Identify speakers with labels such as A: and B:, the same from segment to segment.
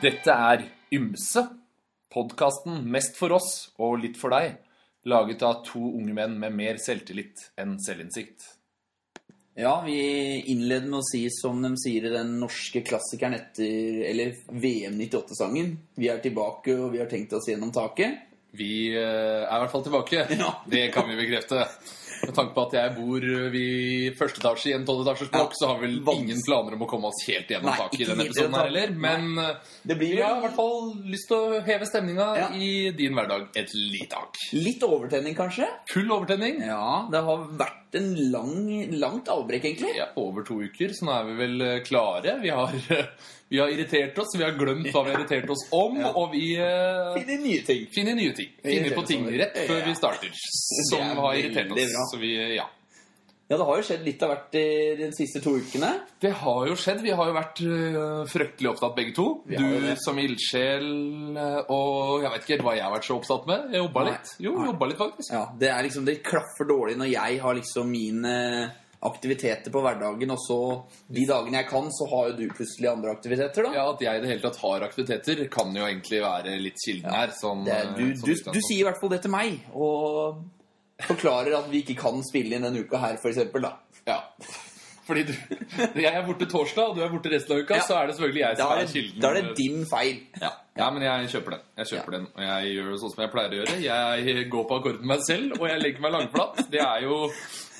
A: Dette er Ymse, podkasten mest for oss og litt for deg, laget av to unge menn med mer selvtillit enn selvinnsikt.
B: Ja, vi innleder med å si som de sier i den norske klassikeren etter Eller VM 98-sangen. Vi er tilbake, og vi har tenkt oss gjennom taket.
A: Vi eh, er i hvert fall tilbake.
B: Ja.
A: Det kan vi bekrefte. Med tanke på at jeg bor eh, i første etasje i en tolvetasjers
B: Ja.
A: blokk, så har vi vel
B: Vans-
A: ingen planer om å komme oss helt gjennom
B: Nei,
A: taket
B: ikke
A: i denne
B: helt i det
A: episoden her
B: tatt.
A: heller. Men eh,
B: Det
A: vi
B: blir
A: har i
B: jo
A: hvert fall lyst til å heve stemninga
B: Ja.
A: i din hverdag et lite hakk.
B: litt overtenning, kanskje.
A: Full overtenning.
B: Ja, det har vært en lang, langt avbrekk, egentlig.
A: Ja, over to uker, så nå er vi vel eh, klare. Vi har, eh, vi har irritert oss, vi har glemt hva vi har irritert oss om,
B: Ja.
A: og vi eh,
B: Finne nye ting.
A: finner nye ting. Finner på ting rett før vi starter, som
B: Det er
A: har irritert
B: veldig bra.
A: oss. Så vi, eh, ja.
B: Ja, det har jo skjedd litt av hvert eh, de siste to ukene.
A: Det har jo skjedd. Vi har jo vært øh, fryktelig opptatt begge to.
B: Vi har jo
A: Du
B: det.
A: som ildsjel, øh, og jeg vet ikke helt hva jeg har vært så opptatt med. Jeg jobba
B: Nei.
A: litt. Jo,
B: Nei.
A: jobba litt faktisk.
B: Ja, Det er liksom, det klaffer dårlig når jeg har liksom mine aktiviteter på hverdagen, og så de dagene jeg kan, så har jo du plutselig andre aktiviteter, da.
A: Ja, At jeg i det hele tatt har aktiviteter, kan jo egentlig være litt kilden her. Sånn,
B: Det
A: øh,
B: er, du,
A: sånn
B: du,
A: utgangspunkt.
B: du sier i hvert fall det til meg, og forklarer at vi ikke kan spille inn denne uka her, for eksempel, da.
A: Ja. Fordi du, jeg er borte torsdag, og du er borte resten av uka,
B: Ja.
A: så er det selvfølgelig jeg
B: Da
A: som
B: er
A: er
B: det,
A: kilden.
B: da er det din feil.
A: Ja. ja, men jeg kjøper den. Jeg kjøper den, Og jeg gjør sånn som jeg pleier å gjøre. Jeg går på akkord med meg selv, og jeg legger meg langflat. Det er jo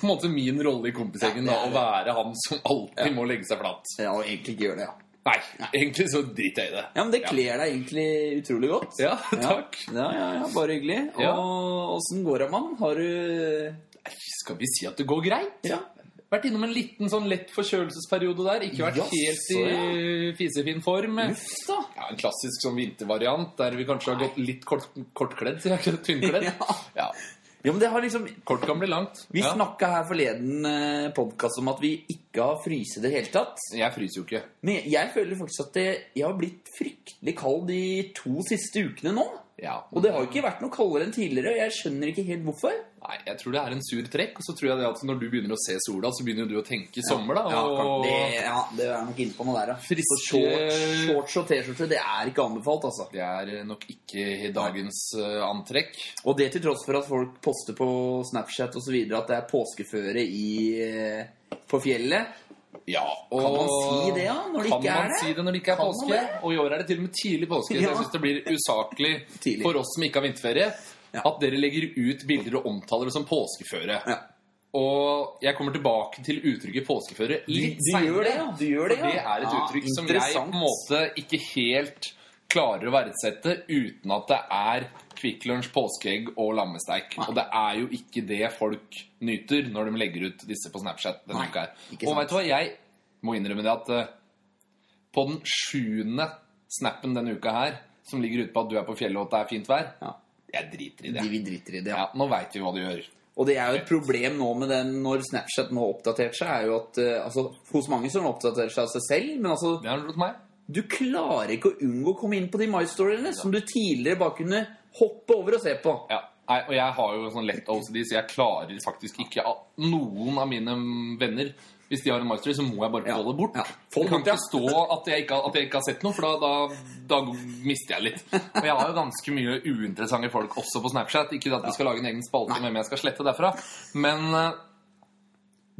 A: på en måte min rolle i kompisgjengen, da,
B: Ja,
A: å
B: det
A: være han som alltid må legge seg flat.
B: Ja, og egentlig ikke gjør det, ja.
A: Nei, egentlig så driter jeg i det.
B: Ja, men det kler deg egentlig utrolig godt.
A: Ja, takk.
B: Ja, ja, ja, bare hyggelig. Og
A: Ja.
B: åssen går det, mann? Har du
A: Nei, Skal vi si at det går greit?
B: Ja.
A: Vært innom en liten sånn lett forkjølelsesperiode der. Ikke vært
B: Jaså,
A: helt i fisefin form.
B: Uff, da.
A: Ja, En klassisk sånn vintervariant der vi kanskje har gått litt kort, kortkledd. sier jeg ikke, Tynnkledd.
B: Ja.
A: Ja.
B: Ja, men det har liksom
A: Kort kan bli langt.
B: Vi
A: ja.
B: snakka her forleden eh, podkast om at vi ikke har fryst i det hele tatt.
A: Jeg fryser jo ikke.
B: Men jeg føler faktisk at det, jeg har blitt fryktelig kald de to siste ukene nå.
A: Ja.
B: Og det har jo ikke vært noe kaldere enn tidligere, og jeg skjønner ikke helt hvorfor.
A: Nei, jeg tror det er en sur trekk. Og så tror jeg det at når du begynner å se sola, så begynner du å tenke sommer, da.
B: Ja,
A: Og...
B: kan- det, ja, det er nok inne på noe der, ja.
A: Friske-
B: Så shorts, shorts og T-skjorte, det er ikke anbefalt, altså.
A: Det er nok ikke i dagens eh, antrekk.
B: Og det til tross for at folk poster på Snapchat osv. at det er påskeføre i, eh, på fjellet.
A: Ja, og...
B: Kan man si det, ja, når det
A: Kan
B: ikke er
A: man
B: det?
A: si det når det ikke er
B: Kan man
A: påske? Og i år er det til og med tidlig påske, så
B: Ja.
A: jeg syns det blir usaklig
B: Tidlig.
A: for oss som ikke har vinterferie,
B: Ja.
A: at dere legger ut bilder og omtaler det som påskeføre.
B: Ja.
A: Og jeg kommer tilbake til uttrykket påskeføre
B: Du,
A: litt
B: du
A: seinere.
B: gjør det, ja. Du gjør det,
A: For
B: ja.
A: det er et
B: Ja,
A: uttrykk som jeg på
B: interessant.
A: en måte ikke helt klarer å verdsette uten at det er Kvikk Lunsj, påskeegg og lammesteik.
B: Ah.
A: Og det er jo ikke det folk nyter når de legger ut disse på Snapchat denne
B: Nei,
A: uka her.
B: ikke
A: Og
B: sant.
A: vet du hva, jeg må innrømme det at eh, på den sjuende snappen denne uka her, som ligger ute på at du er på fjellet og at det er fint vær,
B: Ja.
A: jeg driter i
B: De
A: det.
B: vi driter i det. Ja.
A: Ja, nå veit vi hva du gjør.
B: Og det er jo et problem nå med den når Snapchat nå har oppdatert seg, er jo at eh, altså, hos mange som oppdaterer seg av seg selv, men altså
A: Det har du hos meg.
B: Du klarer ikke å unngå å komme inn på de My Storyene som du tidligere bare kunne hoppe over og se på.
A: Ja. Nei, og jeg har jo sånn lett OCD, så jeg klarer faktisk ikke a- noen av mine venner Hvis de har en master, så må jeg bare
B: Ja.
A: få det bort.
B: Ja.
A: Få det kan
B: bort, ja.
A: ikke stå at jeg ikke, har- at jeg ikke har sett noe, for da, da, da mister jeg litt. Og jeg har jo ganske mye uinteressante folk også på Snapchat. Ikke at vi skal lage en egen spalte med hvem jeg skal slette derfra. Men eh,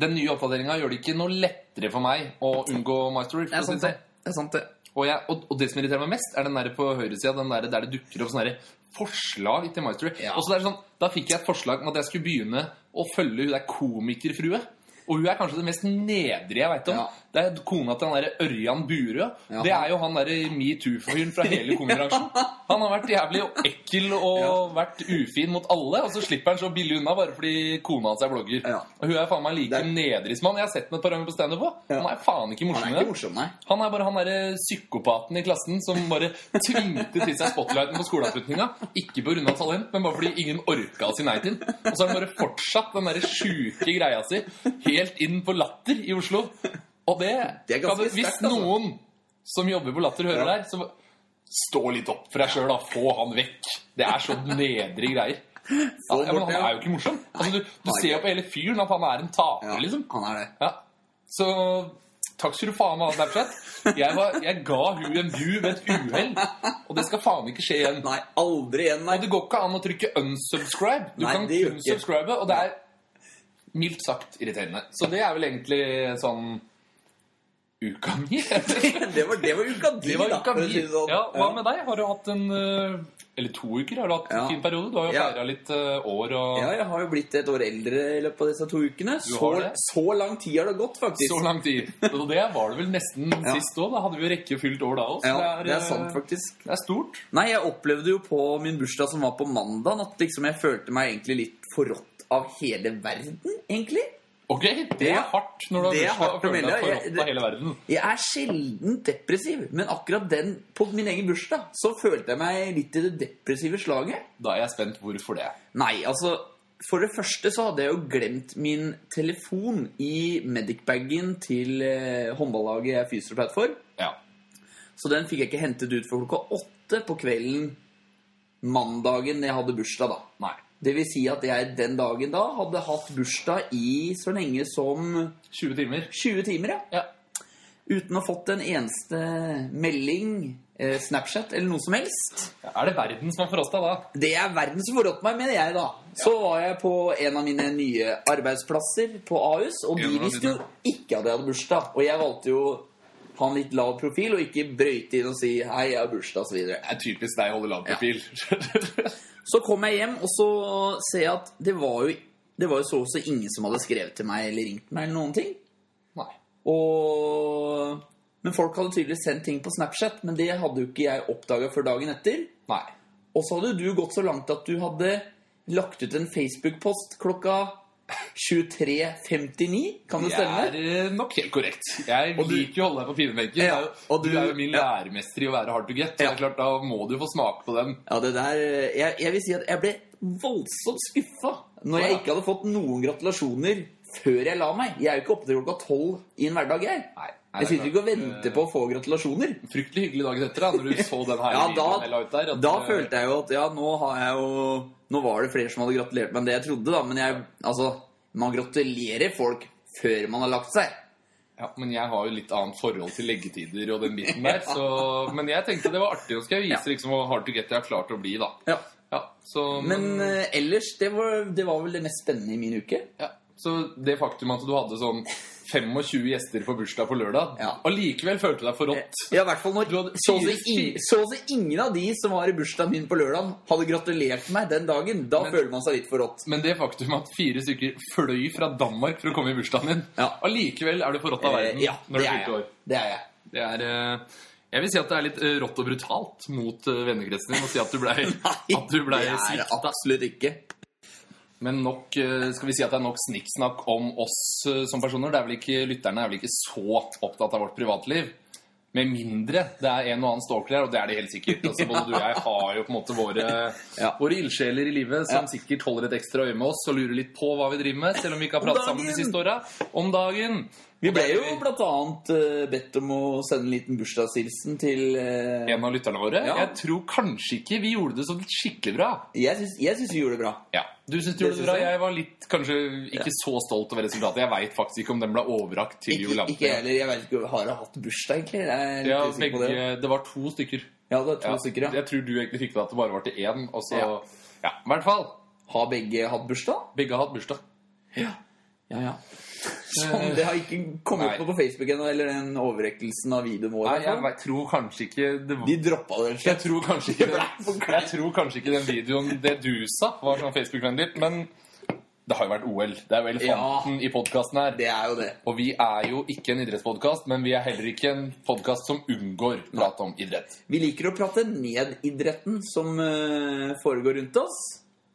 A: den nye oppdateringa gjør det ikke noe lettere for meg å sånn. unngå master.
B: Det er sånn sant, det. det, er sant, det.
A: Og, jeg, og, og det som irriterer meg mest, er den der på høyresida den der, der det dukker opp sånne der forslag til My Story.
B: Ja.
A: Og så det er sånn, Da fikk jeg et forslag om at jeg skulle begynne å følge hun der komikerfrue. Og hun er kanskje det mest nedrige jeg veit om.
B: Ja.
A: Det er kona til han derre Ørjan Burøe.
B: Ja.
A: Det er jo han derre metoo-fyren fra hele komibransjen. Han har vært jævlig ekkel og vært ufin mot alle, og så slipper han så billig unna bare fordi kona hans er blogger.
B: Ja.
A: Og hun er faen meg like
B: Det er-
A: nedrig som han. Jeg har sett henne et par ganger på standup òg.
B: Ja.
A: Han er faen ikke
B: Han
A: morsom
B: er
A: i
B: ikke
A: det.
B: morsom, nei.
A: Han er bare han derre psykopaten i klassen som bare tvingte til seg spotlighten på skoleavslutninga. Ikke pga. talent, men bare fordi ingen orka å si nei til den. Og så har han bare fortsatt den derre sjuke greia si helt inn på Latter i Oslo. Og det,
B: Det er
A: kan
B: ganske
A: du- Hvis
B: sterkt, altså.
A: noen som jobber på Latter, hører
B: Ja.
A: der, så stå litt opp for deg sjøl, da. Få han vekk. Det er så nedre greier. Ja,
B: Få
A: ja, men han
B: bort det, ja.
A: er jo ikke morsom. Altså, du du
B: Nei.
A: ser jo på hele fyren at han er en taper,
B: Ja,
A: liksom.
B: han er det.
A: Ja. Så Takk skal du faen meg ha, Snapchat. Jeg, var, jeg ga hun en bu ved et uhell, og det skal faen ikke skje igjen.
B: Nei, aldri igjen, nei.
A: Og det går ikke an å trykke unsubscribe. Du
B: Nei,
A: kan
B: det gjør
A: kun
B: ikke.
A: subscribe, og det er mildt sagt irriterende. Så det er vel egentlig sånn uka mi.
B: Det var, det var uka di,
A: Det var
B: da.
A: uka
B: for å
A: mi.
B: si det sånn.
A: Ja, hva
B: Ja.
A: med deg? Har du hatt en eh, Eller to uker? Har du hatt
B: Ja.
A: en fin periode? Du har jo
B: Ja.
A: feira litt eh, år og
B: Ja, jeg har jo blitt et år eldre i løpet av disse to ukene.
A: Du
B: Så,
A: har det.
B: så lang tid har det gått, faktisk.
A: så lang tid. Og det var det vel nesten
B: Ja.
A: sist òg. Da hadde vi jo rekke fylt år da òg.
B: Ja, det
A: eh,
B: er sant, faktisk.
A: Det er stort.
B: Nei, jeg opplevde jo på min bursdag som var på mandag, at liksom jeg følte meg egentlig litt forrådt av hele verden, egentlig.
A: Ok, det er
B: Ja.
A: hardt når du har
B: Det er
A: bursdag og
B: hardt å
A: føler deg
B: melde. Jeg-
A: forrådt av hele verden.
B: Jeg er sjelden depressiv, men akkurat den på min egen bursdag, så følte jeg meg litt i det depressive slaget.
A: Da er jeg spent. Hvorfor det?
B: Nei, altså For det første så hadde jeg jo glemt min telefon i medicbagen til eh, håndballaget jeg er fysioterapeut for.
A: Ja.
B: Så den fikk jeg ikke hentet ut før klokka åtte på kvelden mandagen jeg hadde bursdag, da.
A: Nei.
B: Det vil si at jeg den dagen da hadde hatt bursdag i så lenge som
A: 20 timer.
B: 20 timer, ja.
A: Ja.
B: Uten å ha fått en eneste melding, eh, Snapchat eller noe som helst.
A: Er det verden som har forrådt deg da?
B: Det er verden som forrådte meg, mener jeg, da. Så var jeg på en av mine nye arbeidsplasser på Ahus, og
A: En
B: de
A: av
B: visste jo
A: dine.
B: ikke at jeg hadde bursdag. Og jeg valgte jo å ha en litt lav profil og ikke brøyte inn og si 'hei, jeg har bursdag' osv. Så, videre.
A: er typisk deg å holde lav profil.
B: så kom jeg hjem, og så ser jeg at det var jo, det var jo så også ingen som hadde skrevet til meg eller ringt meg eller noen ting.
A: Nei.
B: Og... Men folk hadde tydeligvis sendt ting på Snapchat, men det hadde jo ikke jeg oppdaga før dagen etter.
A: Nei.
B: Og så hadde du gått så langt at du hadde lagt ut en Facebook-post klokka 23.59. Kan det
A: Det er
B: stemme?
A: eh, nok helt korrekt. Jeg
B: Og du-
A: liker jo å holde deg på pinebenken.
B: Ja, og
A: du,
B: du-
A: er jo min
B: ja.
A: læreminister i å være hard to get. Så
B: Ja.
A: det er klart, Da må du få smake på dem.
B: Ja, det der Jeg, jeg vil si at jeg ble voldsomt skuffa når
A: Ja.
B: jeg ikke hadde fått noen gratulasjoner før jeg la meg. Jeg er jo ikke oppe til klokka tolv i en hverdag, jeg.
A: Nei, nei,
B: Jeg
A: det er
B: sitter ikke
A: klart. eh,
B: og venter på å få gratulasjoner.
A: Fryktelig hyggelig dagen etter, da, når du så den her
B: Ja,
A: videoen
B: da-
A: jeg la ut der. at,
B: Da
A: eh,
B: følte jeg jo at ja, nå har jeg jo Nå var det flere som hadde gratulert meg enn det jeg trodde, da. Men jeg, altså, man gratulerer folk før man har lagt seg.
A: ja, Men jeg har jo litt annet forhold til leggetider og den biten der. Så, men jeg tenkte det var artig. Nå skal jeg vise liksom hvor hard to get jeg har klart å bli, da.
B: Ja.
A: Ja, så,
B: Men eh, ellers, det var, det var vel det mest spennende i min uke.
A: Ja, Så det faktum at du hadde sånn 25 gjester på bursdag på lørdag,
B: Ja.
A: og likevel følte deg forrådt
B: Ja, i hvert fall når
A: Du hadde
B: så å si
A: fire-
B: ing- så å si ingen av de som var i bursdagen min på lørdag, hadde gratulert meg den dagen. Da
A: Men-
B: føler man seg litt forrådt.
A: Men det faktum at fire stykker fløy fra Danmark for å komme i bursdagen din
B: Ja.
A: Allikevel er du forrådt av verden
B: Eh, ja,
A: når du
B: det er
A: fylte
B: jeg.
A: år.
B: Det er jeg.
A: Det er eh, Jeg vil si at det er litt eh, rått og brutalt mot eh, vennekretsen din å si at du blei ble
B: det er jeg
A: svikta.
B: absolutt ikke.
A: Men nok eh, Skal vi si at det er nok snikksnakk om oss eh, som personer? Det er vel ikke, lytterne er vel ikke så opptatt av vårt privatliv? Med mindre det er en og annen stalker her, og det er det helt sikkert. Altså, både du og jeg har jo på en måte våre,
B: Ja.
A: våre ildsjeler i livet som
B: Ja.
A: sikkert holder et ekstra øye med oss og lurer litt på hva vi driver med, selv om vi ikke har pratet sammen de
B: dagen!
A: siste åra. Om dagen.
B: Vi ble jo blant annet eh, bedt om å sende en liten bursdagshilsen til eh,
A: en av lytterne våre.
B: Ja.
A: Jeg tror kanskje ikke vi gjorde det så skikkelig bra.
B: Jeg syns jeg syns vi gjorde det bra.
A: Ja, Du syns du gjorde det
B: Det synes
A: bra.
B: jeg.
A: Jeg var litt kanskje ikke
B: Ja.
A: så stolt over resultatet. Jeg veit faktisk ikke om den ble overrakt til
B: Ikke,
A: jubilanten.
B: ikke jeg heller. Jeg vet ikke, Har jeg hatt bursdag, egentlig? Jeg er litt
A: Ja,
B: usikker på
A: begge,
B: det.
A: det var to stykker.
B: Ja, det er to
A: Ja,
B: stykker, ja.
A: Jeg tror du egentlig fikk det at det bare var til én. Og så, ja.
B: Ja.
A: i hvert fall.
B: Har begge hatt bursdag?
A: Begge har hatt bursdag.
B: Ja, ja. Sånn, det har ikke kommet
A: Nei.
B: på på Facebook ennå, eller den overrekkelsen av videoen vår.
A: Nei,
B: i hvert
A: jeg
B: fall.
A: vet- tror kanskje ikke det var
B: De droppa det. rett og
A: jeg
B: slett.
A: tror, kanskje ikke den, jeg tror kanskje ikke den videoen det du sa, var sånn Facebook-vennlig. Men det har jo vært OL. Det er jo elefanten i podkasten her.
B: Det er jo det.
A: Og vi er jo ikke en idrettspodkast, men vi er heller ikke en podkast som unngår prat om idrett.
B: Vi liker å prate ned idretten som eh, foregår rundt oss.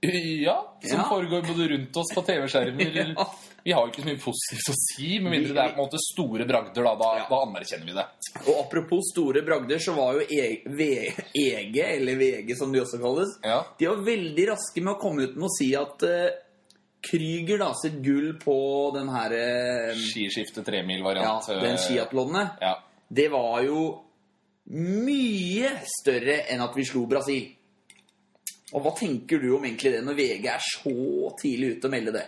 A: Ja, som
B: Ja.
A: foregår både rundt oss på TV-skjermer.
B: Ja.
A: Vi har jo ikke så mye positivt å si, med mindre det er på en måte store bragder. Da, da,
B: Ja.
A: da anerkjenner vi det.
B: Og apropos store bragder, så var jo E- V- EG, eller VG som de også kalles,
A: Ja.
B: de var veldig raske med å komme ut med å si at eh, Krüger da sitt gull på den her eh,
A: Skiskifte
B: ja,
A: tremil-variant. eh,
B: den skiatlonet,
A: Ja.
B: det var jo mye større enn at vi slo Brasil. Og hva tenker du om egentlig det når VG er så tidlig ute og melder det?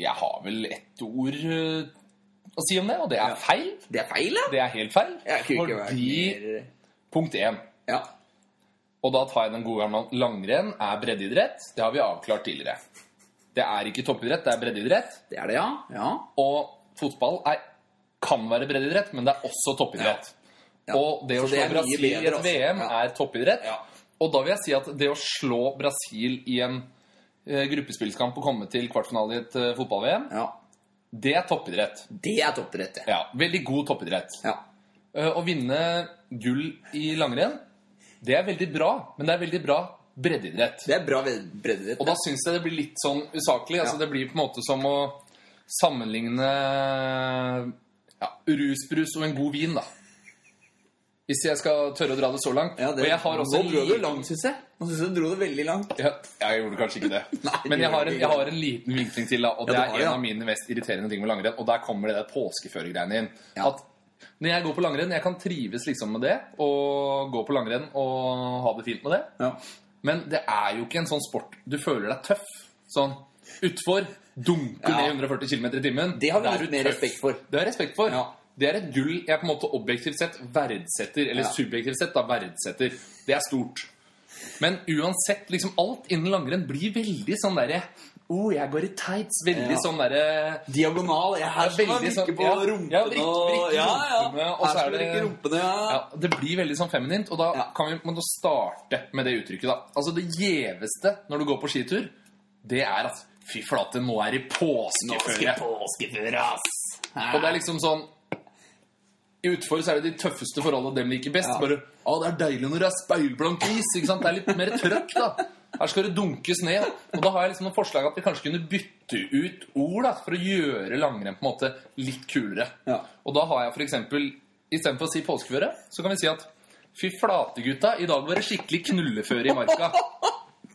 A: Jeg har vel ett ord eh, å si om det, og det er
B: Ja.
A: feil.
B: Det er feil, ja!
A: Det er helt feil.
B: Jeg kunne ikke vært
A: Fordi
B: mer
A: punkt én,
B: Ja.
A: og da tar jeg den gode gamle langrenn, er breddeidrett. Det har vi avklart tidligere. Det er ikke toppidrett, det er breddeidrett.
B: Det er det, ja. ja.
A: Og fotball er, kan være breddeidrett, men det er også toppidrett.
B: Ja.
A: Og det å
B: Så
A: slå
B: det er mye
A: Brasil i
B: bedre,
A: et
B: altså.
A: VM
B: Ja.
A: er toppidrett.
B: Ja.
A: Og da vil jeg si at det å slå Brasil i en eh, gruppespillskamp og komme til kvartfinale i et eh, fotball-VM,
B: ja.
A: det er toppidrett.
B: Det er toppidrett, det.
A: Ja, Veldig god toppidrett.
B: Ja.
A: Eh, Å vinne gull i langrenn, det er veldig bra, men det er veldig bra breddeidrett.
B: Det er bra ved- breddeidrett.
A: Og da syns jeg det blir litt sånn usaklig. Altså,
B: Ja.
A: Det blir på en måte som å sammenligne ja, rusbrus og en god vin, da. Hvis jeg skal tørre å dra det så langt.
B: Ja, det-
A: og jeg har også
B: Nå
A: en
B: dro du
A: liten
B: langt, syns jeg. Nå synes jeg du dro det veldig langt.
A: ja, Jeg gjorde kanskje ikke det.
B: Nei, det
A: Men jeg
B: gjorde
A: har, en,
B: du ikke.
A: jeg har en liten vinkling til, da, og
B: Ja,
A: det
B: du
A: er
B: har
A: en
B: det, ja.
A: av mine mest irriterende ting med langrenn. Og der kommer det der påskeførergreiene inn.
B: Ja.
A: At når jeg går på langrenn, jeg kan trives liksom med det, og gå på langrenn og ha det fint med det.
B: Ja.
A: Men det er jo ikke en sånn sport du føler deg tøff. Sånn utfor, dunke
B: Ja.
A: ned 140 km i timen.
B: Det har vi
A: Da er
B: litt
A: du
B: mer
A: tøff.
B: respekt for.
A: Det har jeg respekt for.
B: Ja.
A: Det er et gull jeg på en måte objektivt sett verdsetter, eller
B: Ja.
A: subjektivt sett da verdsetter. Det er stort. Men uansett, liksom alt innen langrenn blir veldig sånn derre oh, jeg går i tights. Veldig
B: Ja.
A: sånn derre
B: Diagonal. Jeg her
A: Det er
B: skal man
A: veldig
B: vrikke
A: sånn-
B: på
A: ja, ja,
B: rumpene
A: vrikke- vrikke rumpene, og
B: Her
A: så er
B: skal man
A: det-
B: vrikke rumpene, ja.
A: ja, Det blir veldig sånn feminint, og da
B: Ja.
A: kan vi på en måte starte med det uttrykket. da. Altså Det gjeveste når du går på skitur, det er at fy flate, nå er det påskeføre.
B: påskeføre, ass!
A: Og det er liksom sånn I utfor så er det de tøffeste forholdene dem liker best.
B: Ja.
A: Bare Å, det er deilig når det er speilblank is. ikke sant? Det er litt mer trøkk, da. Her skal det dunkes ned. Og da har jeg liksom noen forslag at vi kanskje kunne bytte ut ord da, for å gjøre langrenn på en måte litt kulere.
B: Ja.
A: Og da har jeg for eksempel Istedenfor å si påskeføre, så kan vi si at Fy flate, gutta. I dag var det skikkelig knulleføre i marka.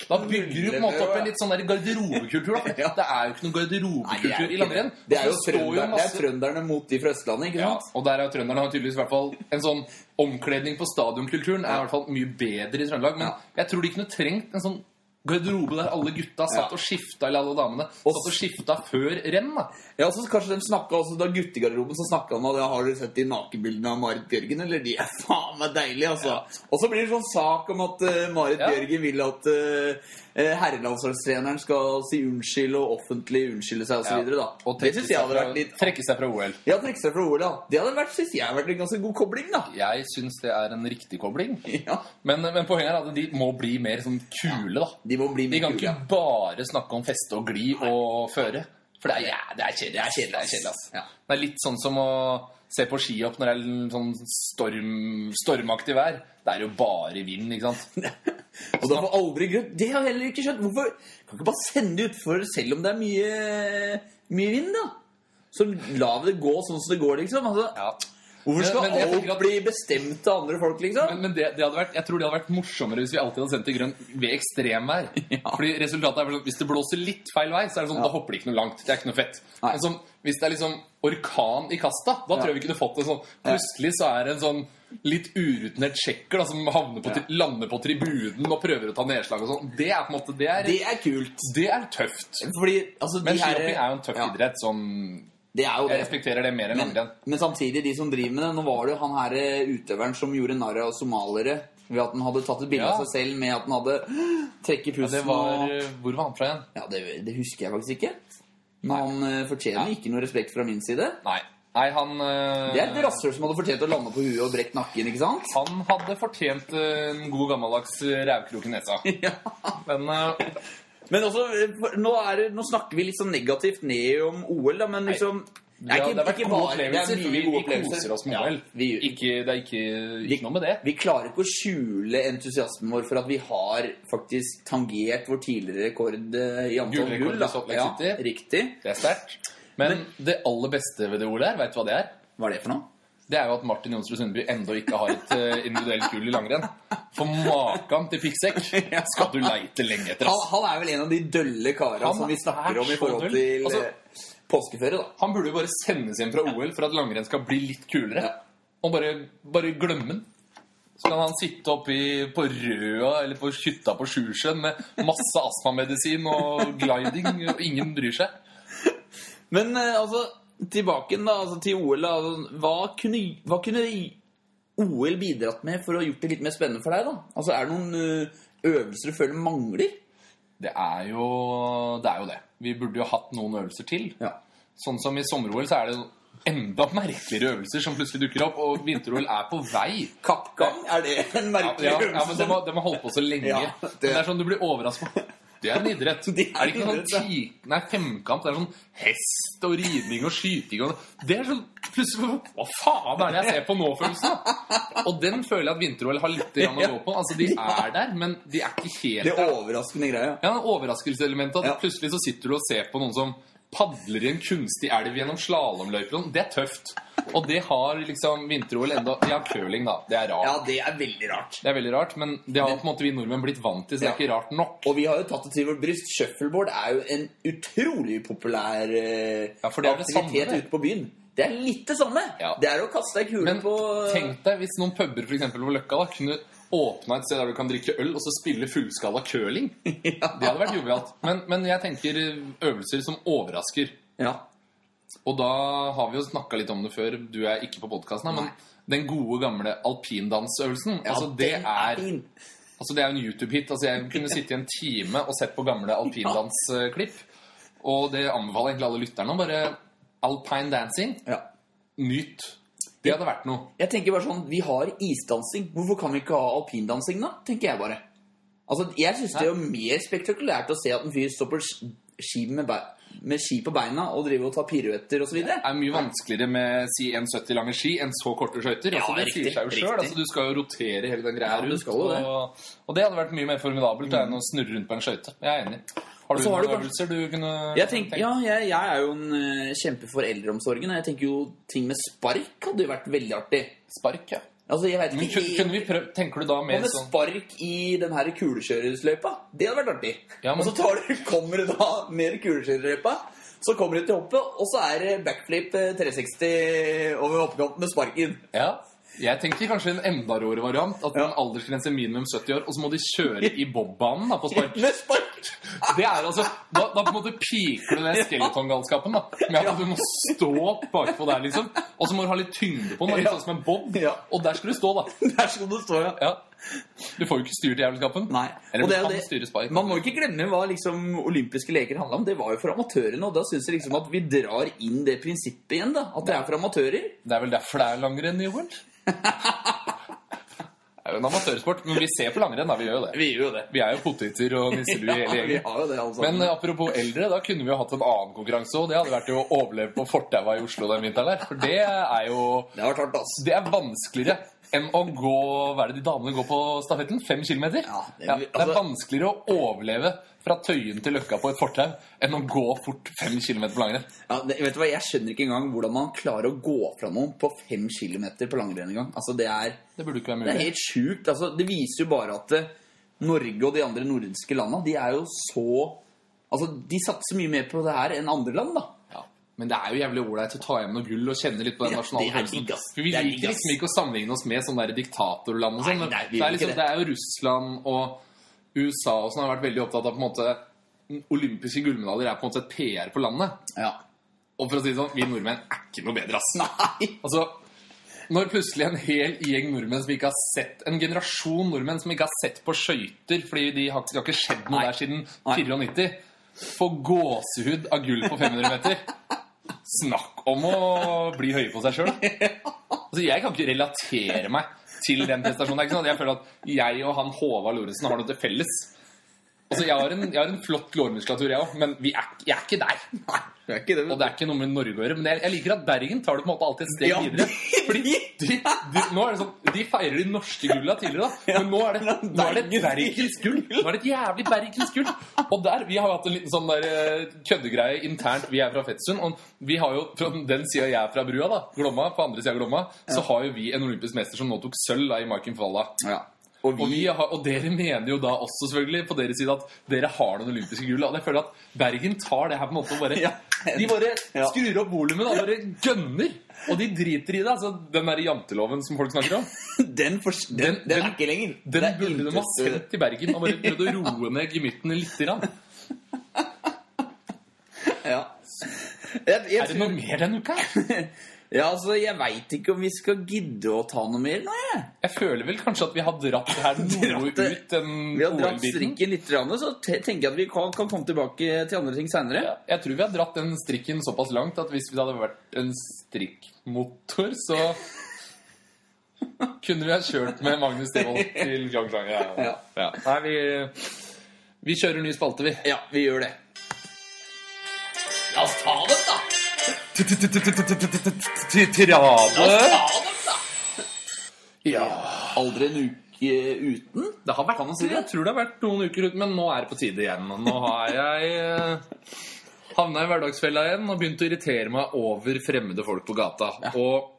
A: Da bygger du på en måte opp en litt sånn der garderobekultur. da, for
B: Ja.
A: Det er jo ikke noen
B: Nei, det er jo
A: garderobekultur i
B: ikke
A: langrenn.
B: det. Det er jo
A: Så står
B: trønderne, det
A: masse-
B: er trønderne mot de fra Østlandet, ikke
A: ja,
B: sant?
A: og der er jo trønderne har tydeligvis i hvert fall en sånn omkledning på stadionkulturen er i hvert fall mye bedre i Trøndelag. Men
B: Ja.
A: jeg tror de kunne trengt en sånn garderobe der alle gutta satt
B: Ja.
A: og skifta, eller alle damene satt og skifta før renn. da.
B: Ja, så kanskje de snakket også Da guttegarderoben så snakket han om det. Har du sett de nakenbildene av Marit Bjørgen? Eller de er faen meg deilige, altså. Og så blir det sånn sak om at eh, Marit
A: Ja.
B: Bjørgen vil at eh, herrelandslagstreneren skal si unnskyld og offentlig unnskylde seg og så
A: Ja.
B: videre, da.
A: Og
B: det
A: trekke
B: synes jeg
A: seg
B: hadde
A: fra-
B: vært litt
A: Trekke seg fra OL.
B: Ja, trekke seg fra OL, ja. Det hadde vært, synes jeg, vært en ganske god kobling, da.
A: Jeg syns det er en riktig kobling.
B: Ja,
A: Men, men poenget er at de må bli mer sånn kule, da.
B: De må bli
A: De
B: mer
A: kan
B: kule.
A: ikke bare snakke om feste og gli og føre. For det er, ja, det er kjedelig. Det er kjedelig, det er kjedelig ass.
B: Ja.
A: Det er litt sånn som å se på skihopp når det er en sånn storm, stormaktig vær. Det er jo bare vind, ikke sant?
B: Og da får aldri grunn Det har jeg heller ikke skjønt. Hvorfor kan ikke bare sende det utfor selv om det er mye, mye vind, da? Så la vi det gå sånn som det går, liksom. Altså,
A: Ja.
B: Hvorfor skal
A: Men- men jeg
B: alt
A: tenker at-
B: bli bestemt av andre folk, liksom?
A: Men, men det, det hadde vært, jeg tror det hadde vært morsommere hvis vi alltid hadde sendt til grønn ved ekstremvær. Fordi resultatet er vel sånn, Hvis det blåser litt feil vei, så er det sånn, da hopper det ikke noe langt. Det er ikke noe fett.
B: Nei.
A: Men som, hvis det er liksom orkan i kasta, da tror jeg vi kunne fått en sånn Plutselig så er det en sånn litt urutinert tsjekker da, som havner på, tri- lander på tribunen og prøver å ta nedslag og sånn. Det er på en måte Det er,
B: Det er kult.
A: det er tøft.
B: Fordi altså,
A: Men
B: de her
A: skihopping er jo en tøff
B: Ja,
A: idrett som
B: Det er jo
A: Jeg
B: det.
A: respekterer det mer enn
B: Men,
A: langrenn.
B: men samtidig, de som driver med det Nå var det jo han her eh, utøveren som gjorde narr av somaliere ved at han hadde tatt et bilde
A: Ja.
B: av seg selv med at han hadde trekket
A: Det
B: pusten
A: var
B: og
A: Hvor var han fra igjen?
B: Ja, det, det husker jeg faktisk ikke. Men han eh, fortjener ikke noe respekt fra min side.
A: Nei. Nei, han eh,
B: Det er et rasshøl som hadde fortjent å lande på huet og brekt nakken, ikke sant?
A: Han hadde fortjent eh, en god gammeldags eh, rævkrok i nesa. Men eh,
B: Men også, eh, for- nå, er, det- nå snakker vi litt sånn negativt ned om OL, da, men liksom
A: det, har- det har vært gode
B: bare- det er
A: opplevelser.
B: mye
A: Vi,
B: gode
A: vi
B: opplevelser.
A: koser oss med
B: Ja,
A: OL.
B: vi,
A: Ikke, det er ikke,
B: vi-
A: ikke noe med det.
B: vi klarer ikke å skjule entusiasmen vår for at vi har faktisk tangert vår tidligere rekord eh, i antall
A: Gullrekord
B: gull. da.
A: i Salt Lake
B: Ja,
A: City.
B: riktig.
A: Det er sterkt. Men det aller beste ved det ordet her, vet du hva det er?
B: Hva er det for noe?
A: Det er jo at Martin Jonsrud Sundby enda ikke har et eh, individuelt gull i langrenn. For makan til piggsekk skal du leite lenge etter.
B: Han,
A: Ass.
B: han er vel en av de dølle kara
A: Han
B: som vi
A: er
B: snakker om i
A: så
B: forhold
A: døll.
B: til
A: Altså-
B: eh, påskeføre, da.
A: Han burde jo bare sendes hjem fra OL for at langrenn skal bli litt kulere.
B: Ja.
A: Og bare, bare glemme den. Så kan han sitte oppe i- på Røa eller på hytta på Sjusjøen med masse astmamedisin og gliding, og ingen bryr seg.
B: Men eh, altså, tilbake da, altså, til OL. Da. Altså, Hva, kunne, hva kunne OL bidratt med for å ha gjort det litt mer spennende for deg? da? Altså, Er det noen ø, øvelser du føler mangler?
A: Det er jo det. Er jo det. Vi burde jo hatt noen øvelser til.
B: Ja.
A: Sånn som i sommer-OL så er det enda merkeligere øvelser som plutselig dukker opp, og vinter-OL er på vei.
B: Kappgang, er det en merkelig
A: Ja, ja, men
B: øvelse?
A: de har, de har holdt på så lenge.
B: Ja,
A: det...
B: det-
A: Men det er sånn du blir overrasket Det er en idrett.
B: Det er
A: er det ikke
B: en
A: sånn
B: idrett, ja.
A: ti... Nei, femkamp? Det er sånn hest og ridning og skyting og Det er sånn plutselig Hva faen er det jeg ser på nå-følelsen? da? Og den føler jeg at vinter-OL har litt grann å gå på. Altså, De er der, men de er ikke helt
B: Det
A: der.
B: er overraskende greia.
A: Ja, Overraskelseselementet. At
B: Ja.
A: plutselig så sitter du og ser på noen som padler i en kunstig elv gjennom slalåmløyper. og sånn. Det er tøft. Og det har liksom vinter-OL enda De har curling, da. Det er rart.
B: Ja, det er veldig rart.
A: Det er veldig rart, men det har på en måte vi nordmenn blitt vant til, så det er
B: Ja.
A: ikke rart nok.
B: Og vi har jo tatt det til vårt bryst. Shuffleboard er jo en utrolig populær eh,
A: Ja, for det er det samme,
B: aktivitet
A: det.
B: ute på byen. Det er litt det samme.
A: Ja.
B: Det er å kaste ei kule
A: Men
B: på
A: tenk deg hvis noen puber for eksempel, på Løkka da, kunne åpna et sted der du kan drikke øl, og så spille fullskala curling. Det hadde vært jovialt. Men, men jeg tenker eh, øvelser som overrasker.
B: Ja.
A: Og da har vi jo snakka litt om det før, du er ikke på podkasten, men
B: Nei.
A: den gode, gamle alpindansøvelsen.
B: Ja,
A: altså, det
B: den
A: er,
B: fin.
A: altså, det er jo en YouTube-hit. Altså, jeg kunne sitte i en time og sett på gamle alpindansklipp. Og det anbefaler egentlig alle lytterne. å Bare alpine dancing.
B: Ja.
A: Nyt. Det hadde vært noe.
B: Jeg tenker bare sånn, Vi har isdansing. Hvorfor kan vi ikke ha alpindansing, da? tenker jeg bare. Altså, Jeg syns det er jo mer spektakulært å se at en fyr står på sk- ski med, bei- med ski på beina og driver og tar piruetter osv.
A: Det er mye vanskeligere med si 1,70 lange ski enn så korte skøyter.
B: Ja,
A: altså, det
B: riktig,
A: sier seg jo selv.
B: riktig.
A: Altså, du skal jo rotere hele den greia
B: Ja, du
A: rundt.
B: skal jo det. Mm.
A: Og, og det hadde vært mye mer formidabelt da, enn å snurre rundt på en skøyte. Jeg er enig. Har
B: Og
A: du
B: så har
A: noen
B: du kanskje-
A: øvelser du kunne
B: Jeg tenker, ja, jeg, jeg er jo en eh, kjempe for eldreomsorgen. og Jeg tenker jo ting med spark hadde jo vært veldig artig.
A: Spark, ja.
B: Altså, jeg vet
A: Men
B: ikke
A: kun- kunne vi prøvd Tenker du da
B: Hva
A: mer
B: med
A: sånn
B: spark i den her kulekjørerløypa? Det hadde vært artig.
A: Ja, men-
B: Og så tar du, kommer du da ned i kulekjørerløypa, så kommer du til hoppet, og så er det backflip eh, 360 over hoppekanten med sparken.
A: Ja. Jeg tenker kanskje en enda råere variant. At en aldersgrense minimum 70 år, og så må de kjøre i bobbanen da, på spark.
B: Med spark!
A: Det er altså, da, da på en måte piker du den skeletongalskapen. da Med at du må stå bakpå der, liksom. Og så må du ha litt tyngde på den. da, Litt
B: Ja.
A: sånn som en bob.
B: Ja.
A: Og der skal du stå, da.
B: Der skal det stå, ja.
A: Ja. Du får jo ikke styrt jævelskapen.
B: Nei.
A: Eller
B: Og det er
A: du
B: jo
A: kan
B: det-
A: styre spark.
B: Man må ikke glemme hva liksom olympiske leker handla om. Det var jo for amatørene. Og da syns jeg liksom at vi drar inn det prinsippet igjen. da At det er for amatører.
A: Det er vel derfor det er langrenn i OL? Det er jo en amatørsport, men vi ser på langrenn, da. Vi gjør jo det.
B: Vi gjør jo det.
A: Vi er jo poteter og nisselue i hele
B: Ja, vi
A: gjengen.
B: har jo det, altså.
A: Men eh, apropos eldre, da kunne vi jo hatt en annen konkurranse òg. Det hadde vært jo å overleve på fortaua i Oslo den vinteren der. For det er jo
B: det har vært hardt, ass.
A: Det er vanskeligere enn å gå Hva er det de damene går på stafetten? Fem kilometer?
B: Ja, det- altså-
A: det, er vanskeligere å overleve fra Tøyen til Løkka på et fortau enn å gå fort fem kilometer på langrenn.
B: Ja, det, vet du hva, Jeg skjønner ikke engang hvordan man klarer å gå fra noen på fem kilometer på langrenn engang. Altså, det, er-
A: Det burde ikke være
B: det er
A: mulig.
B: helt sjukt. Altså, det viser jo bare at eh, Norge og de andre nordiske landa, de er jo så Altså, de satser mye mer på det her enn andre land, da.
A: Ja. Men det er jo jævlig ålreit å ta hjem noe gull og kjenne litt på den
B: Ja,
A: nasjonale
B: det er digg, ass.
A: For vi
B: Det er digg,
A: liker
B: ass.
A: liksom ikke å sammenligne oss med sånne der diktatorland og sånn.
B: Nei, nei, vi
A: det,
B: gjør
A: er liksom,
B: ikke
A: det
B: det.
A: er jo Russland og USA og sånn har vært veldig opptatt av på en måte Olympiske gullmedaljer er på en måte et PR på landet.
B: Ja.
A: Og for å si det sånn, vi nordmenn er ikke noe bedre, ass.
B: Nei!
A: Altså, når plutselig en hel gjeng nordmenn som ikke har sett En generasjon nordmenn som ikke har sett på skøyter fordi de har, det har ikke skjedd noe
B: Nei.
A: der siden
B: Nei.
A: 94, får gåsehud av gull på 500 meter Snakk om å bli høye på seg sjøl. Altså, jeg kan ikke relatere meg til den prestasjonen. Det er ikke sånn at Jeg føler at jeg og han Håvard Lorentzen har noe til felles. Altså, jeg har en, jeg har en flott lårmuskulatur, jeg òg, men vi er, ikke- jeg er ikke der.
B: Nei, det er ikke det.
A: Og det er ikke noe med Norge å gjøre, men jeg, jeg liker at Bergen tar det på en måte alltid et steg
B: Ja,
A: videre. Fordi de,
B: de-
A: nå er det sånn De feirer de norske gulla tidligere, da. Men nå er det, nå er det et Bergens gull! Nå er det et jævlig Bergens gull! Og der, Vi har jo hatt en liten sånn der eh, køddegreie internt. Vi er fra Fettsund. Og vi har jo, fra den sida jeg er fra brua, da, Glomma, på andre sida av Glomma, så har jo vi en olympisk mester som nå tok sølv da, i Maiken Falla.
B: ja. Og
A: Og, vi
B: vi
A: har, og dere mener jo da også selvfølgelig på deres side at dere har noen olympiske gull. Og jeg føler at Bergen tar det her på en måte og bare
B: Ja.
A: De bare
B: Ja.
A: skrur opp volumet og bare gønner. Og de driter i det. altså Den der janteloven som folk snakker om,
B: Den, for, den, den,
A: den-
B: er ikke lenger.
A: den
B: Det er
A: burde de ha
B: intet-
A: sendt til Bergen og bare prøvd å roe ned gemyttene lite grann.
B: Ja. Jeg, jeg,
A: Er det noe mer denne uka?
B: ja, altså, jeg veit ikke om vi skal gidde å ta noe mer nå, jeg.
A: Jeg føler vel kanskje at vi har dratt det her noe
B: Dratt det.
A: ut den
B: Vi har dratt
A: OL-biten.
B: strikken litt, grann, så te- tenker jeg at vi kan, kan komme tilbake til andre ting seinere.
A: Ja, Jeg tror vi har dratt den strikken såpass langt at hvis det hadde vært en strikkmotor, så kunne vi ha kjørt med Magnus Devold til Pyeongchang. Ja.
B: Ja.
A: Ja. Nei, vi, vi kjører ny spalte, vi.
B: Ja, vi gjør det.
A: La oss ta den, da!
B: La
A: Tirade.
B: oss
A: Ja.
B: Aldri en uke uten.
A: Det har vært, jeg tror det har vært noen uker ut, men nå er det på tide igjen. Og Nå har jeg eh, havna i hverdagsfella igjen og begynt å irritere meg over fremmede folk på gata. Og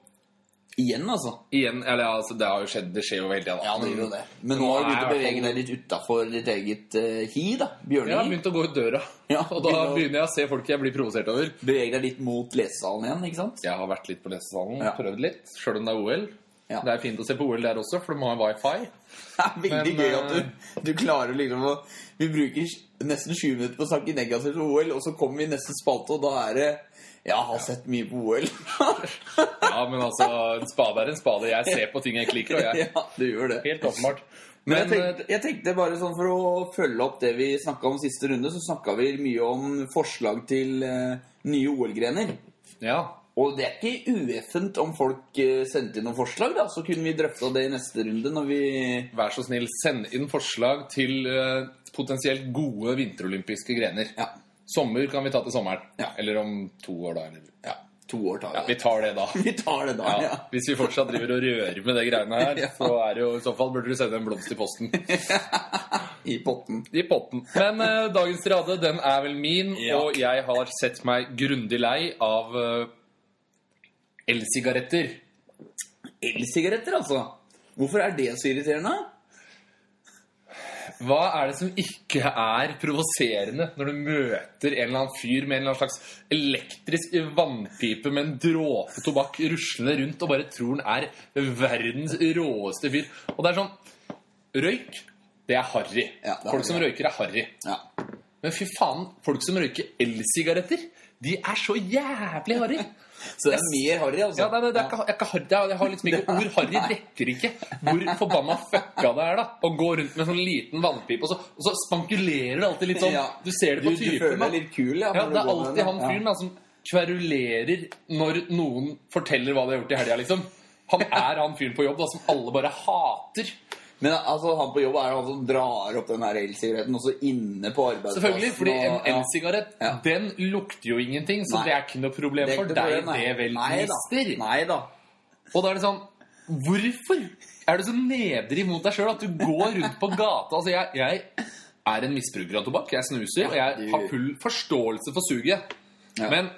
B: Igjen, altså.
A: igjen, eller ja, altså, det har jo skjedd, det skjer jo hele tida. da.
B: Ja, det gjør jo det. Men nå har du
A: Nå er jeg
B: begynt å
A: i hvert
B: bevege deg litt utafor ditt eget eh, hi,
A: Men Jeg
B: da.
A: har
B: Bjørnehi.
A: begynt å gå ut døra,
B: Ja,
A: og da
B: begynner å-
A: begynner jeg å se folk jeg blir provosert over.
B: Bevege deg litt mot lesesalen igjen, ikke sant?
A: Jeg har vært litt på lesesalen,
B: Ja.
A: prøvd litt, sjøl om det er OL.
B: Ja.
A: Det er fint å se på OL der også, for du må ha wifi.
B: Det er veldig
A: Men, eh,
B: gøy at du, du klarer liksom å Vi bruker nesten 20 minutter på å snakke negativt om OL, og så kommer vi i neste spalte, og da er det Jeg har sett mye på OL.
A: Ja, men altså, en spade er en spade. Jeg ser på ting jeg ikke liker, og jeg
B: ja, du gjør det.
A: Helt åpenbart.
B: Men jeg
A: Men, eh,
B: tenkte, jeg tenkte bare sånn for å følge opp det vi snakka om siste runde, så snakka vi mye om forslag til eh, nye OL-grener.
A: ja.
B: Og det er ikke ueffent om folk eh, sendte inn noen forslag, da. Så kunne vi drøfta det i neste runde når vi
A: Vær så snill, send inn forslag til eh, potensielt gode vinterolympiske grener.
B: Ja.
A: Sommer kan vi ta til sommeren.
B: Ja.
A: Eller om to år, da. Eller.
B: ja to år tar
A: Ja,
B: vi
A: vi
B: det.
A: tar det da.
B: Vi tar det da,
A: Ja.
B: ja.
A: Hvis vi fortsatt driver og rører med de greiene her,
B: Ja.
A: så er det jo i så fall burde du sende en blomst i posten.
B: I potten.
A: I potten. Men eh, dagens tirade, den er vel min,
B: Ja.
A: og jeg har sett meg grundig lei av eh, elsigaretter.
B: Elsigaretter, altså. Hvorfor er det så irriterende?
A: Hva er det som ikke er provoserende når du møter en eller annen fyr med en eller annen slags elektrisk vannpipe med en dråpe tobakk ruslende rundt og bare tror han er verdens råeste fyr? Og det er sånn Røyk, det er harry.
B: Ja, det er
A: Folk som
B: harry.
A: røyker, er harry.
B: Ja.
A: Men fy faen, folk som røyker elsigaretter, de er så jævlig harry.
B: Så det er mer harry, altså.
A: Ja, nei, nei, det er ikke, jeg, er ikke harry, jeg har liksom ikke ord. Harry dekker ikke hvor forbanna fucka det er da å gå rundt med en sånn liten vannpipe, og så, og så spankulerer det alltid litt sånn.
B: Ja.
A: Du ser det på
B: du, du føler
A: typen.
B: deg
A: da.
B: litt kul, ja.
A: Ja,
B: når du
A: det er
B: går med
A: alltid
B: den,
A: han fyren da som kverulerer når noen forteller hva de har gjort i helga, liksom. Han er han fyren på jobb da som alle bare hater.
B: Men altså, han på jobb er jo han som drar opp den her elsigaretten også inne på arbeidsplassen.
A: Selvfølgelig, fordi en
B: og- ja.
A: elsigarett,
B: Ja.
A: den lukter jo ingenting, så
B: Nei.
A: det er ikke noe problem
B: Det er
A: for
B: ikke
A: deg,
B: noe problem, nei.
A: det vel,
B: Nei da.
A: mister.
B: Nei da.
A: Og da er det sånn Hvorfor er du så nedrig mot deg sjøl at du går rundt på gata? Altså, jeg, jeg er en misbruker av tobakk. Jeg snuser, og jeg
B: du-
A: har full forståelse for suget.
B: Ja.
A: Men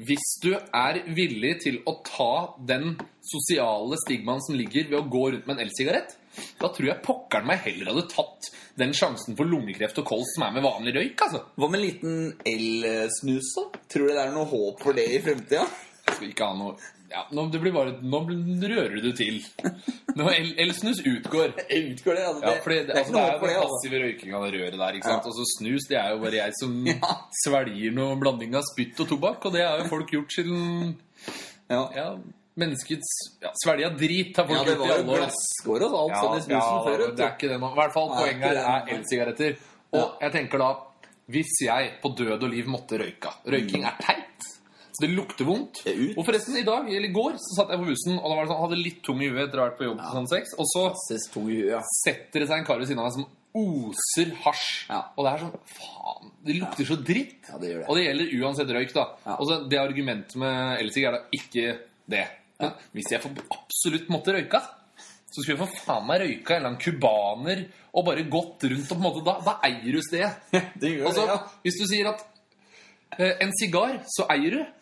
A: hvis du er villig til å ta den sosiale stigmaen som ligger ved å gå rundt med en elsigarett, da tror jeg pokkeren meg heller hadde tatt den sjansen for lungekreft og kols som er med vanlig røyk. altså.
B: Hva med en liten elsnus, da? Tror du det er noe håp for det i fremtida?
A: Jeg skal ikke ha noe... Ja, nå, det blir bare, nå rører du til. Nå el- Elsnus utgår.
B: Jeg utgår det. Altså,
A: Ja, fordi det, altså, det er jo
B: det,
A: den
B: altså.
A: passive røykinga av det røret der. ikke sant?
B: Ja.
A: Og så snus, det er jo bare jeg som svelger noe blanding av spytt og tobakk. Og det har jo folk gjort siden
B: Ja.
A: ja, menneskets ja, Svelga drit har folk
B: ja,
A: gjort
B: det
A: i
B: var jo
A: alle år.
B: glasskår og alt
A: Ja,
B: sånn i snusen
A: ja,
B: før.
A: det er
B: vet du.
A: ikke det nå. I hvert fall
B: Nei,
A: poenget
B: ikke
A: her
B: det.
A: er elsigaretter. Og jeg tenker da Hvis jeg på død og liv måtte røyka Røyking er teit. Så det lukter vondt.
B: Det er ut.
A: Og forresten, i dag, eller i går, så satt jeg på bussen og da var det sånn, hadde litt tung i huet etter å ha vært på jobb til sånn seks. Og så
B: Ses to i huet, ja.
A: setter det seg en kar ved siden av meg som oser hasj.
B: Ja.
A: Og det er sånn Faen, det lukter så dritt.
B: Ja, det gjør det.
A: Og det gjelder uansett røyk, da.
B: Ja.
A: Og så det argumentet med elsig er da ikke det. Men hvis jeg for absolutt måtte røyka, så skulle jeg for faen meg røyka en eller annen cubaner og bare gått rundt og på en måte Da, da eier du stedet.
B: Det gjør
A: Altså,
B: det, ja.
A: hvis du sier at eh, en sigar, så eier du.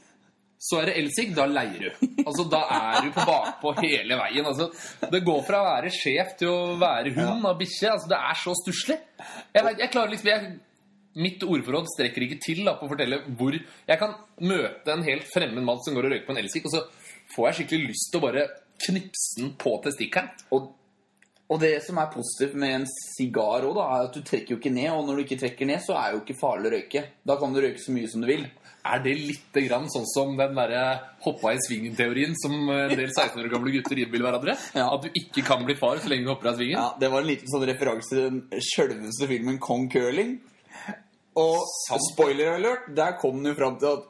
A: Så er det elsig, da leier du. Altså, Da er du på bakpå hele veien. Altså, det går fra å være sjef til å være hund av bikkje. Altså, det er så stusslig. Jeg, vet- jeg klarer liksom jeg, Mitt ordforråd strekker ikke til da, på å fortelle hvor Jeg kan møte en helt fremmed mann som går og røyker på en elsig, og så får jeg skikkelig lyst til å bare knipse den på testikkelen.
B: Og Og det som er positivt med en sigar òg, er at du trekker jo ikke ned. Og når du ikke trekker ned, så er det jo ikke farlig å røyke. Da kan du røyke så mye som du vil.
A: Er det litt grann sånn som den der hoppa i svingen-teorien som eh, en del 16 år gamle gutter innbiller hverandre?
B: Ja.
A: At du ikke kan bli far så lenge du hopper av svingen?
B: Ja, Det var en liten sånn referanse til den sjølveste filmen Kong Curling. Og
A: Sant.
B: spoiler alert, der kom den jo fram til at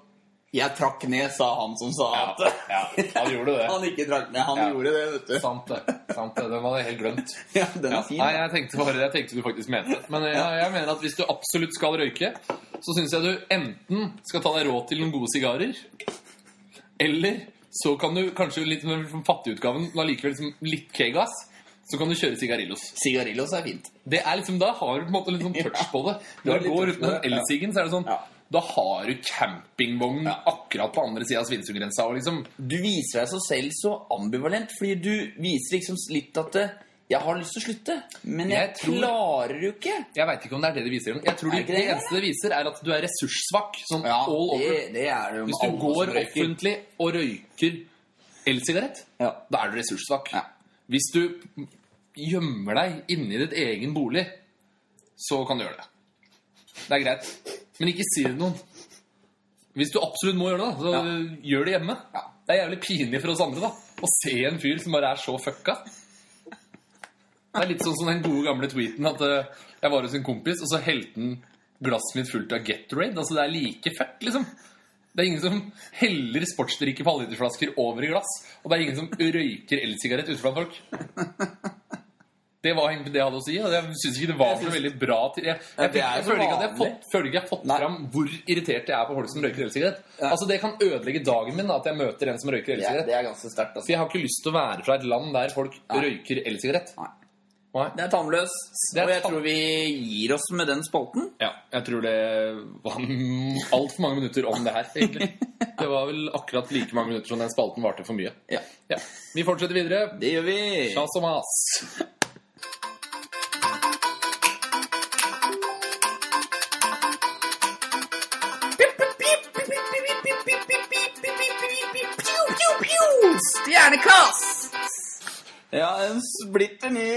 B: 'jeg trakk ned', sa han som sa
A: Ja,
B: at
A: ja, han gjorde det.
B: han ikke trakk ned. Han
A: Ja.
B: gjorde det, vet du.
A: Sant det. sant det, Den var jeg helt glemt.
B: Ja, den er fin.
A: Nei, jeg tenkte bare Jeg tenkte du faktisk mente det. Men jeg, jeg mener at hvis du absolutt skal røyke, så syns jeg du enten skal ta deg råd til noen gode sigarer, eller så kan du kanskje litt med den fattige utgaven, men allikevel liksom litt kegas, så kan du kjøre sigarillos.
B: Sigarillos er fint.
A: Det er liksom, Da har du på en måte litt sånn touch på det.
B: Du har
A: Når du
B: litt
A: går
B: touch
A: rundt med
B: på det,
A: den
B: ja.
A: elsigen, så er det sånn
B: Ja.
A: Da har du campingvogn akkurat på andre sida av Svinesundgrensa. og Liksom.
B: Du viser deg så selv så ambivalent, fordi du viser liksom litt at eh, 'jeg har lyst til å slutte', men jeg,
A: Jeg tror-
B: klarer jo ikke.
A: Jeg veit ikke om det er det det viser. Jeg tror
B: Er
A: det,
B: ikke
A: det
B: det det?
A: eneste det viser, er at du er ressurssvak. Sånn
B: Ja,
A: all over.
B: det, det er det jo med
A: Hvis du
B: alle som
A: går
B: røyker.
A: offentlig og røyker elsigarett,
B: Ja.
A: da er du ressurssvak.
B: Ja.
A: Hvis du gjemmer deg inni ditt egen bolig, så kan du gjøre det. Det er greit. Men ikke si det til noen. Hvis du absolutt må gjøre det, da, så gjør det hjemme.
B: Ja.
A: Det er jævlig pinlig for oss andre da, å se en fyr som bare er så fucka. Det er litt sånn som den gode gamle tweeten at eh, jeg var hos en kompis, og så helte han glasset mitt fullt av Gatorade. Altså, det er like fuck, liksom. Det er ingen som heller sportsdrikke på halvlitersflasker over i glass. Og det er ingen som røyker elsigarett ute blant folk. Det var egentlig det jeg hadde å si, og jeg syns ikke det var så veldig bra til Jeg, jeg,
B: det
A: fikk,
B: er
A: jeg
B: jo
A: føler ikke at jeg har
B: vanlig.
A: fått, føler ikke jeg har fått
B: Nei.
A: fram hvor irritert jeg er på folk som røyker elsigarett.
B: Ja.
A: Altså, det kan ødelegge dagen min da, at jeg møter en som røyker
B: Det er,
A: elsigarett.
B: det er ganske sterkt.
A: For
B: Altså.
A: jeg har ikke lyst til å være fra et land der folk røyker elsigarett.
B: Nei.
A: Nei.
B: Det er tannløst,
A: Det er
B: og jeg
A: tann-
B: tror vi gir oss med den spalten.
A: Ja, jeg tror det var altfor mange minutter om det her, egentlig. Det var vel akkurat like mange minutter som den spalten varte for mye.
B: Ja,
A: Ja. Vi fortsetter videre.
B: det gjør vi.
A: Sjas og mas.
B: Stjernekast! Ja, en splitter ny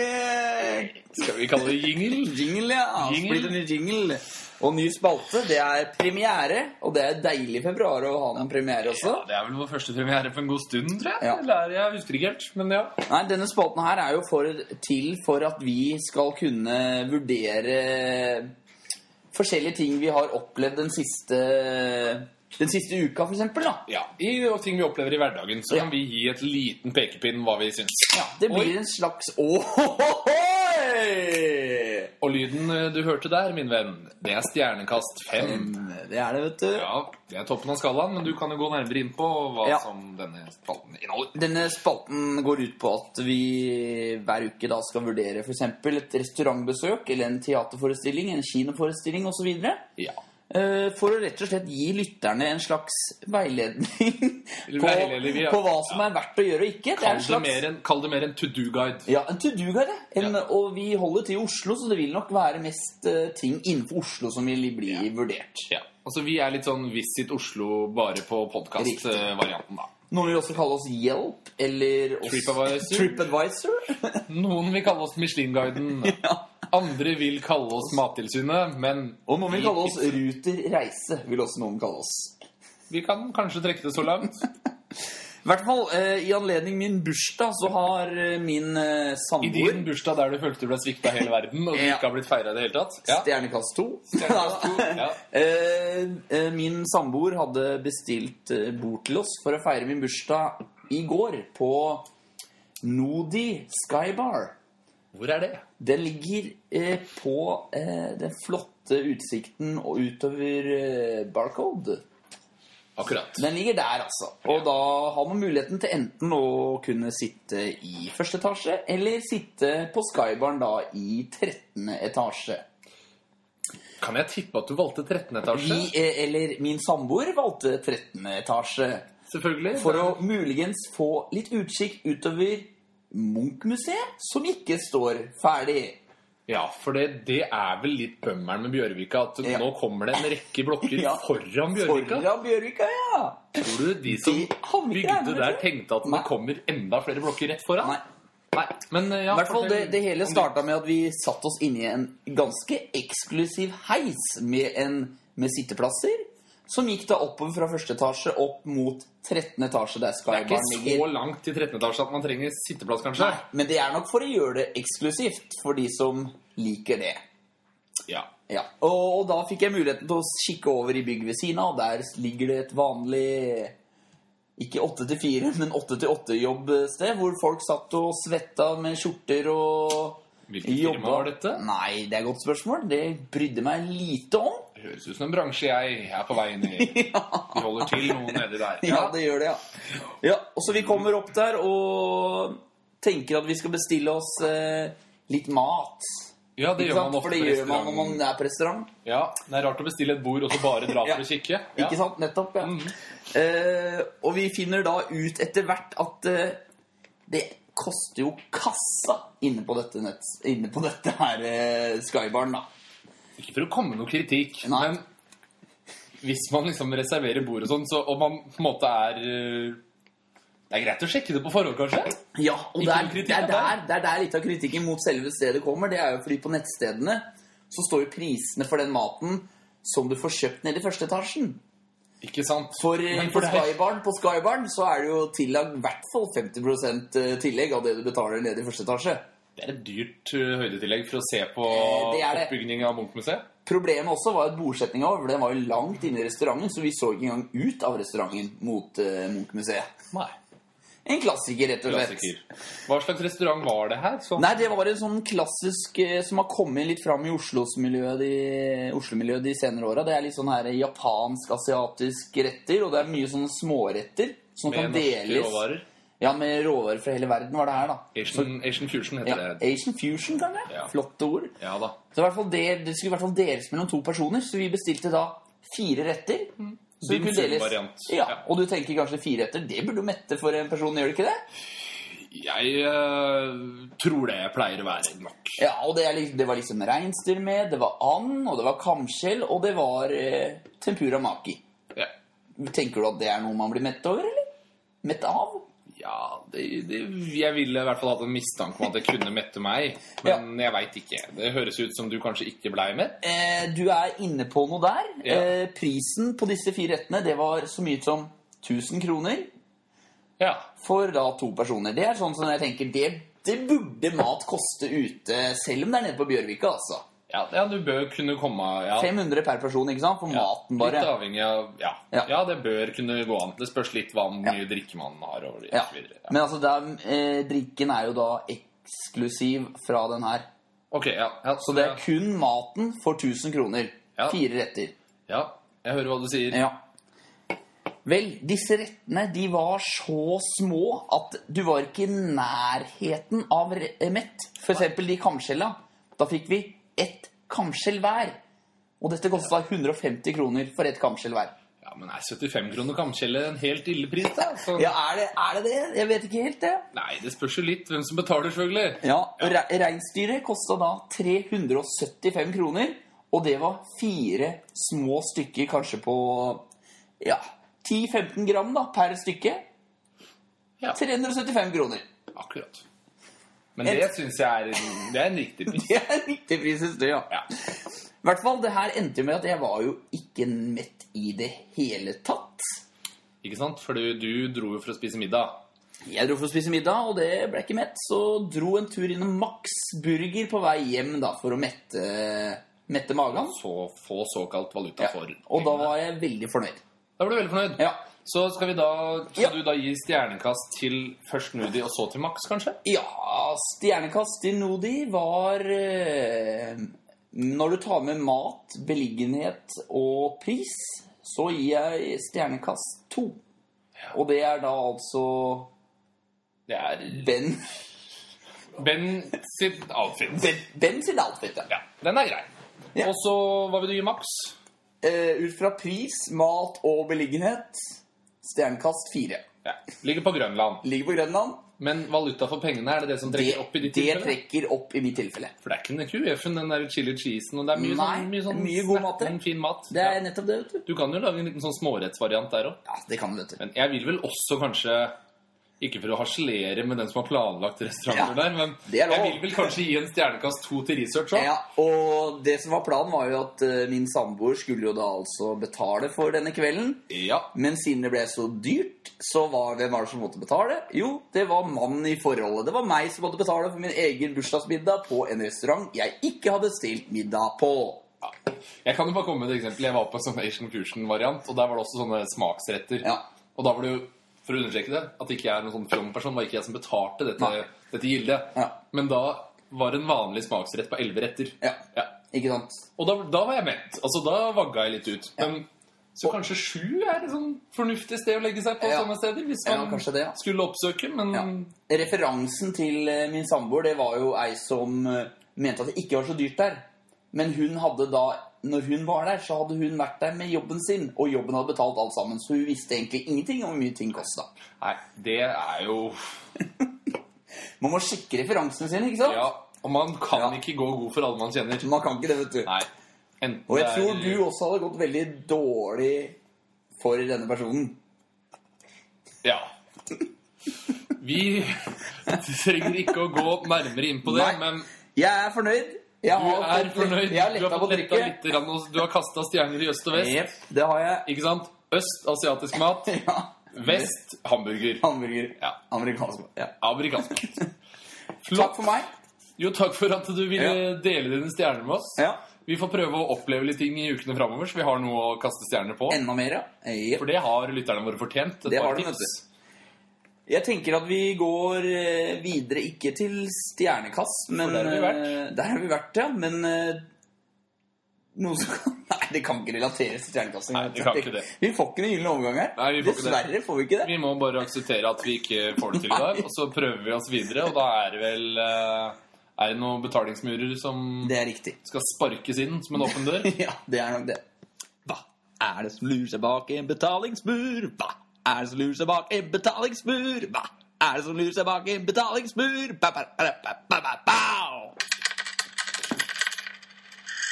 A: Skal vi kalle det jingle?
B: jingle, ja.
A: Jingle.
B: Splitter ny jingle. Og ny spalte. Det er premiere, og det er deilig i februar å ha en premiere også.
A: Ja, det er vel vår første premiere på en god stund, tror jeg.
B: Ja.
A: Eller jeg husker ikke helt, men ja.
B: Nei, denne spalten her er jo for, til for at vi skal kunne vurdere forskjellige ting vi har opplevd den siste, den siste uka, for eksempel, da.
A: ja. I ting vi opplever i hverdagen, så
B: Ja.
A: kan vi gi et liten pekepinn hva vi syns.
B: Det blir
A: Oi.
B: en slags Ohohohoi!
A: Og lyden eh, du hørte der, min venn, det er stjernekast fem.
B: Det er det, vet du.
A: Ja, det er toppen av skalaen, men du kan jo gå nærmere inn på hva
B: Ja.
A: som denne spalten inneholder.
B: Denne spalten går ut på at vi hver uke da skal vurdere f.eks. et restaurantbesøk eller en teaterforestilling, en kinoforestilling osv.
A: Ja.
B: Eh, For å rett og slett gi lytterne en slags veiledning på,
A: Veiledning, ja.
B: på hva som er verdt å gjøre og ikke. Det er
A: Kall
B: en
A: det
B: slags
A: mer en, kall det mer en to do-guide.
B: ja, en to do-guide.
A: Ja.
B: Og vi holder til i Oslo, så det vil nok være mest eh, ting innenfor Oslo som vil bli vurdert.
A: Ja. Altså, vi er litt sånn Visit Oslo bare på podkast-varianten, da.
B: Noen vil også kalle oss Hjelp eller oss
A: TripAdvisor.
B: TripAdvisor.
A: Noen vil kalle oss Michelin-guiden. Andre vil kalle oss Mattilsynet, men
B: Og noen vil kalle oss Ruter Reise, vil også noen kalle oss.
A: Vi kan kanskje trekke det så langt.
B: I hvert fall eh, i anledning min bursdag så har eh, min eh,
A: I
B: samboer
A: din bursdag der du følte du ble svikta av hele verden, og du
B: Ja.
A: ikke har blitt feira i det hele tatt. Ja.
B: Stjernekast 2.
A: Stjernekast to, ja.
B: eh, eh, min samboer hadde bestilt eh, bord til oss for å feire min bursdag i går på Nodi Skybar.
A: Hvor er det?
B: Den ligger eh, på eh, den flotte utsikten og utover eh, Barcode.
A: Akkurat.
B: Den ligger der, altså. Og da har man muligheten til enten å kunne sitte i første etasje, eller sitte på Skybaren da i 13. etasje.
A: Kan jeg tippe at du valgte 13. etasje?
B: Vi, eh, eller min samboer valgte 13. etasje
A: Selvfølgelig.
B: for å muligens få litt utsikt utover Munch-museet, som ikke står ferdig.
A: Ja, for det, det er vel litt bømmeren med Bjørvika. At
B: Ja.
A: nå kommer det en rekke blokker
B: Ja.
A: foran Bjørvika.
B: Foran Bjørvika, ja!
A: Tror du de som
B: De havner ikke der,
A: bygde
B: vet
A: der,
B: du.
A: tenkte at
B: Nei.
A: det kommer enda flere blokker rett foran?
B: Nei.
A: Nei, men eh, ja
B: I hvert fall det,
A: fortell
B: det hele
A: om
B: starta med at vi satte oss inni en ganske eksklusiv heis med, en, med sitteplasser. Som gikk da oppover fra første etasje opp mot 13. etasje,
A: Det er
B: der Skybaren
A: ikke så
B: ligger.
A: langt til 13. etasje at man trenger sitteplass, kanskje?
B: Nei, Men det er nok for å gjøre det eksklusivt for de som liker det.
A: Ja.
B: Ja. Og, og da fikk jeg muligheten til å kikke over i bygget ved siden av. og Der ligger det et vanlig ikke 8 til 4, men 8 til 8-jobbsted, hvor folk satt og svetta med skjorter og
A: Hvilket firma var dette?
B: Nei, det er et godt spørsmål. Det brydde meg lite om.
A: Det høres ut som en bransje jeg er på vei inn i. De holder til noe nedi der.
B: Ja, det gjør det, ja. ja. Og så vi kommer opp der og tenker at vi skal bestille oss eh, litt mat.
A: ja det
B: Ikke
A: gjør
B: sant?
A: man ofte
B: For
A: på
B: det gjør man når
A: restaurant.
B: man er på restaurant.
A: Ja, det er rart å bestille et bord og så bare dra
B: Ja.
A: for å kikke. Ja. Mm.
B: Ikke sant? Nettopp, ja. Eh, og vi finner da ut etter hvert at eh, det koster jo kassa inne på dette, nett, inne på dette her eh, Skybaren, da.
A: Ikke for å komme med noe kritikk,
B: Nei.
A: men hvis man liksom reserverer bord og sånn, så og man på en måte er øh, Det er greit å sjekke det på forhånd, kanskje?
B: Ja, og det
A: Ikke
B: er,
A: noe kritikk
B: det, er
A: av
B: der, det er der litt av kritikken mot selve stedet kommer. Det er jo fordi på nettstedene så står jo prisene for den maten som du får kjøpt nede i første etasjen.
A: Ikke sant?
B: For, eh,
A: Men
B: for
A: deg-
B: Skybaren, på Skybaren så er det jo tillagt i hvert fall 50 tillegg av det du betaler nede i første etasje.
A: Det er et dyrt øh, høydetillegg for å se på
B: Eh, det er det.
A: oppbygning av Munch-museet.
B: Problemet også var at bordsetninga over den var jo langt inne i restauranten, så vi så ikke engang ut av restauranten mot eh, Munch-museet.
A: Nei.
B: En klassiker, rett og slett.
A: Klassiker. Hva slags restaurant var det her? Sånn-
B: Nei, det var en sånn klassisk eh, som har kommet litt fram i Oslo-miljøet de, Oslo de senere åra. Det er litt sånn her japansk-asiatisk retter, og det er mye sånne småretter som
A: med
B: kan
A: norske
B: deles
A: råvarer.
B: Ja, med råvarer fra hele verden var det her, da.
A: Asian, Asian Fusion
B: Ja,
A: heter det.
B: Asian fusion, kanskje?
A: Ja.
B: Flotte ord.
A: Ja da.
B: Så i hvert fall det, det skulle i hvert fall deles mellom to personer, så vi bestilte da fire retter. Så
A: Din
B: vi kunne deles-
A: fullvariant.
B: Ja,
A: Ja.
B: og du tenker kanskje fire retter, det burde jo mette for en person, gjør det ikke det?
A: Jeg øh, tror det pleier å være nok.
B: Ja, og det, er, liksom- det var liksom reinsdyr med, det var and, og det var kamskjell, og det var eh, tempura maki.
A: Ja,
B: Tenker du at det er noe man blir mett over, eller? Mett av?
A: ja det, det, jeg ville i hvert fall hatt en mistanke om at det kunne mette meg. Men jeg veit ikke. Det høres ut som du kanskje ikke blei med.
B: Eh, du er inne på noe der.
A: Ja.
B: Eh, prisen på disse fire rettene, det var så mye som 1000 kroner.
A: Ja.
B: for da to personer. Det er sånn som jeg tenker det, det burde mat koste ute, selv om det er nede på Bjørvika, altså.
A: Ja, ja, du bør kunne komme ja.
B: 500 per person, ikke sant? For
A: Ja,
B: maten bare.
A: Litt avhengig av ja. ja.
B: Ja.
A: det bør kunne gå an. Det spørs litt hva mye drikke man har. Og,
B: Ja.
A: så videre. Ja.
B: Men altså, det er, eh, drikken er jo da eksklusiv fra den her.
A: Ok, ja. ja
B: Så det er kun maten for 1000 kroner.
A: Ja.
B: Fire retter.
A: Ja, jeg hører hva du sier.
B: Ja. Vel, disse rettene de var så små at du var ikke i nærheten av re- mett. For eksempel de kamskjella. Da fikk vi ett kamskjell hver. Og dette kosta 150 kroner for ett kamskjell hver.
A: Ja, Men er 75 kroner kamskjelle en helt ille pris, da? Så,
B: Ja, er det, er det det? Jeg vet ikke helt det.
A: Nei, det spørs jo litt hvem som betaler, selvfølgelig.
B: Ja, og re Reinsdyret kosta da 375 kroner, og det var fire små stykker, kanskje på ja, 10-15 gram da, per stykke.
A: Ja.
B: 375 kroner.
A: Akkurat. Men det syns jeg er, det er en riktig pris.
B: Det er riktig pris, synes du, ja.
A: Ja.
B: I hvert fall, det her endte jo med at jeg var jo ikke mett i det hele tatt.
A: Ikke sant? For du, du dro jo for å spise middag.
B: Jeg dro for å spise middag, og det ble ikke mett, så dro en tur innom Max Burger på vei hjem da, for å mette, mette magen.
A: Så få såkalt valuta
B: Ja.
A: for
B: Og da
A: pengene.
B: var jeg veldig fornøyd.
A: Da ble du veldig fornøyd.
B: Ja.
A: Så skal, vi da, skal
B: Ja.
A: du da gi stjernekast til først Nudi og så til Max, kanskje?
B: Ja, stjernekast til Nodi var eh, Når du tar med mat, beliggenhet og pris, så gir jeg stjernekast to. Og det er da altså
A: Det er
B: Ben,
A: Ben sitt outfit.
B: ben, ben sitt outfit. Ja.
A: Ja, den er grei.
B: Ja.
A: Og så hva vil du gi Max?
B: Eh, ut fra pris, mat og beliggenhet stjernekast fire.
A: Ja. Ligger på Grønland.
B: Ligger på Grønland.
A: Men valuta for pengene, er det det som
B: Det,
A: trekker opp i ditt
B: det
A: tilfelle?
B: trekker opp i mitt tilfelle.
A: For det er ikke den QF-en, den der chili cheesen, og det er mye,
B: Nei,
A: sånn, mye, sånn
B: mye god mat, det.
A: snerten, fin mat.
B: Det er
A: Ja.
B: nettopp det, vet du.
A: Du kan jo lage en liten sånn smårettsvariant der òg.
B: Ja, det kan du, vet du.
A: Men jeg vil vel også kanskje Ikke for å harselere med den som har planlagt restauranter
B: Ja,
A: der, men
B: det er lov.
A: jeg vil vel kanskje gi en stjernekast to til research òg.
B: Ja, og det som var planen, var jo at eh, min samboer skulle jo da altså betale for denne kvelden.
A: Ja.
B: Men siden det ble så dyrt, så var hvem var det som måtte betale? Jo, det var mannen i forholdet. Det var meg som måtte betale for min egen bursdagsmiddag på en restaurant jeg ikke hadde bestilt middag på.
A: Ja. Jeg kan jo bare komme med et eksempel. Jeg var på en sånn Asian Fusion-variant, og der var det også sånne smaksretter.
B: Ja.
A: Og da var det jo, for å understreke det, at ikke jeg er noen sånn fjong-person, var ikke jeg som betalte dette,
B: Nei.
A: dette gildet.
B: Ja.
A: Men da var det en vanlig smaksrett på elleve retter.
B: Ja. Ikke sant?
A: Og da, da var jeg mett. Altså, da vagga jeg litt ut. Men så kanskje sju er et sånn fornuftig sted å legge seg på
B: Ja.
A: sånne steder, hvis
B: Ja,
A: man
B: kanskje det, ja.
A: skulle oppsøke, men
B: Ja. Referansen til eh, min samboer, det var jo ei som eh, mente at det ikke var så dyrt der. Men hun hadde da, når hun var der, så hadde hun vært der med jobben sin, og jobben hadde betalt alt sammen, så hun visste egentlig ingenting om hvor mye ting kosta.
A: Nei, det er jo
B: Man må sjekke referansene sine, ikke sant?
A: Ja. Og man kan
B: Ja.
A: ikke gå god for alle man kjenner.
B: Man kan ikke det, vet du.
A: Nei. Enten
B: Og
A: det
B: jeg
A: er-
B: tror du også hadde gått veldig dårlig for denne personen.
A: Ja. Vi trenger ikke å gå nærmere inn på det,
B: Nei.
A: men
B: Jeg er fornøyd. Jeg
A: du er
B: fått-
A: fornøyd.
B: Jeg har
A: Du har
B: letta på
A: fått letta
B: trykket.
A: litt, grann, og du har kasta stjerner i øst og vest.
B: Jep, det har jeg.
A: Ikke sant? Øst asiatisk mat,
B: Ja.
A: vest hamburger.
B: Hamburger.
A: Ja.
B: Amerikansk. Ja.
A: Amerikansk.
B: Takk
A: Flott.
B: for meg.
A: Jo, takk for at du ville
B: Ja.
A: dele dine stjerner med oss.
B: Ja.
A: Vi får prøve å oppleve litt ting i ukene framover, så vi har noe å kaste stjerner på.
B: Enda mer, ja. Jep.
A: For det har lytterne våre fortjent. Et
B: Det
A: par
B: har de,
A: tips.
B: vet Jeg tenker at vi går eh, videre, ikke til stjernekast, men
A: der har vi vært.
B: eh, Der har vi vært, ja. Men eh, noe som kan Nei, det kan ikke relateres til stjernekasting.
A: Nei, det kan ikke det.
B: Vi får ikke den gylne overgang her.
A: Nei, vi får ikke det.
B: Dessverre får vi ikke det.
A: Vi må bare akseptere at vi ikke får det til i dag, og så prøver vi oss videre. Og da er det vel eh, Er det noen betalingsmurer som
B: Det er riktig.
A: skal sparkes inn som en åpen dør?
B: Ja, det er nok det. Hva er det som lurer seg bak en betalingsmur? Hva er det som lurer seg bak en betalingsmur? Hva er det som lurer seg bak en betalingsmur? Ba, ba, ba, ba, ba, ba, ba.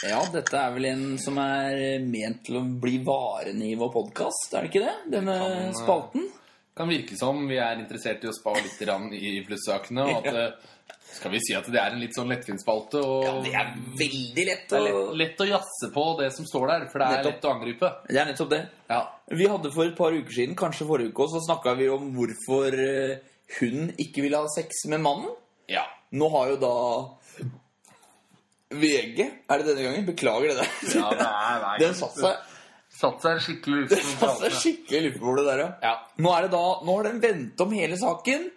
B: Ja, dette er vel en som er ment til å bli varende i vår podkast, er det ikke det? Denne
A: kan, eh,
B: spalten?
A: Kan virke som vi er interessert i å spa litt grann i flussakene. Og at eh, Skal vi si at det er en litt sånn lettvintsspalte? Og
B: Ja, det er veldig lett
A: det
B: å
A: er lett, lett å jazze på det som står der, for det er
B: Nettopp.
A: lett å angripe.
B: Det er nettopp det.
A: Ja.
B: Vi hadde for et par uker siden, kanskje forrige uke også, så snakka vi om hvorfor eh, hun ikke ville ha sex med mannen.
A: ja.
B: Nå har jo da VG Er det denne gangen? Beklager det der.
A: Ja, det er- det er-
B: Den satte seg,
A: Satt seg skikkelig ut.
B: satt seg skikkelig i luftbordet der, ja.
A: Ja.
B: Nå, er det da, nå har den vendt om hele saken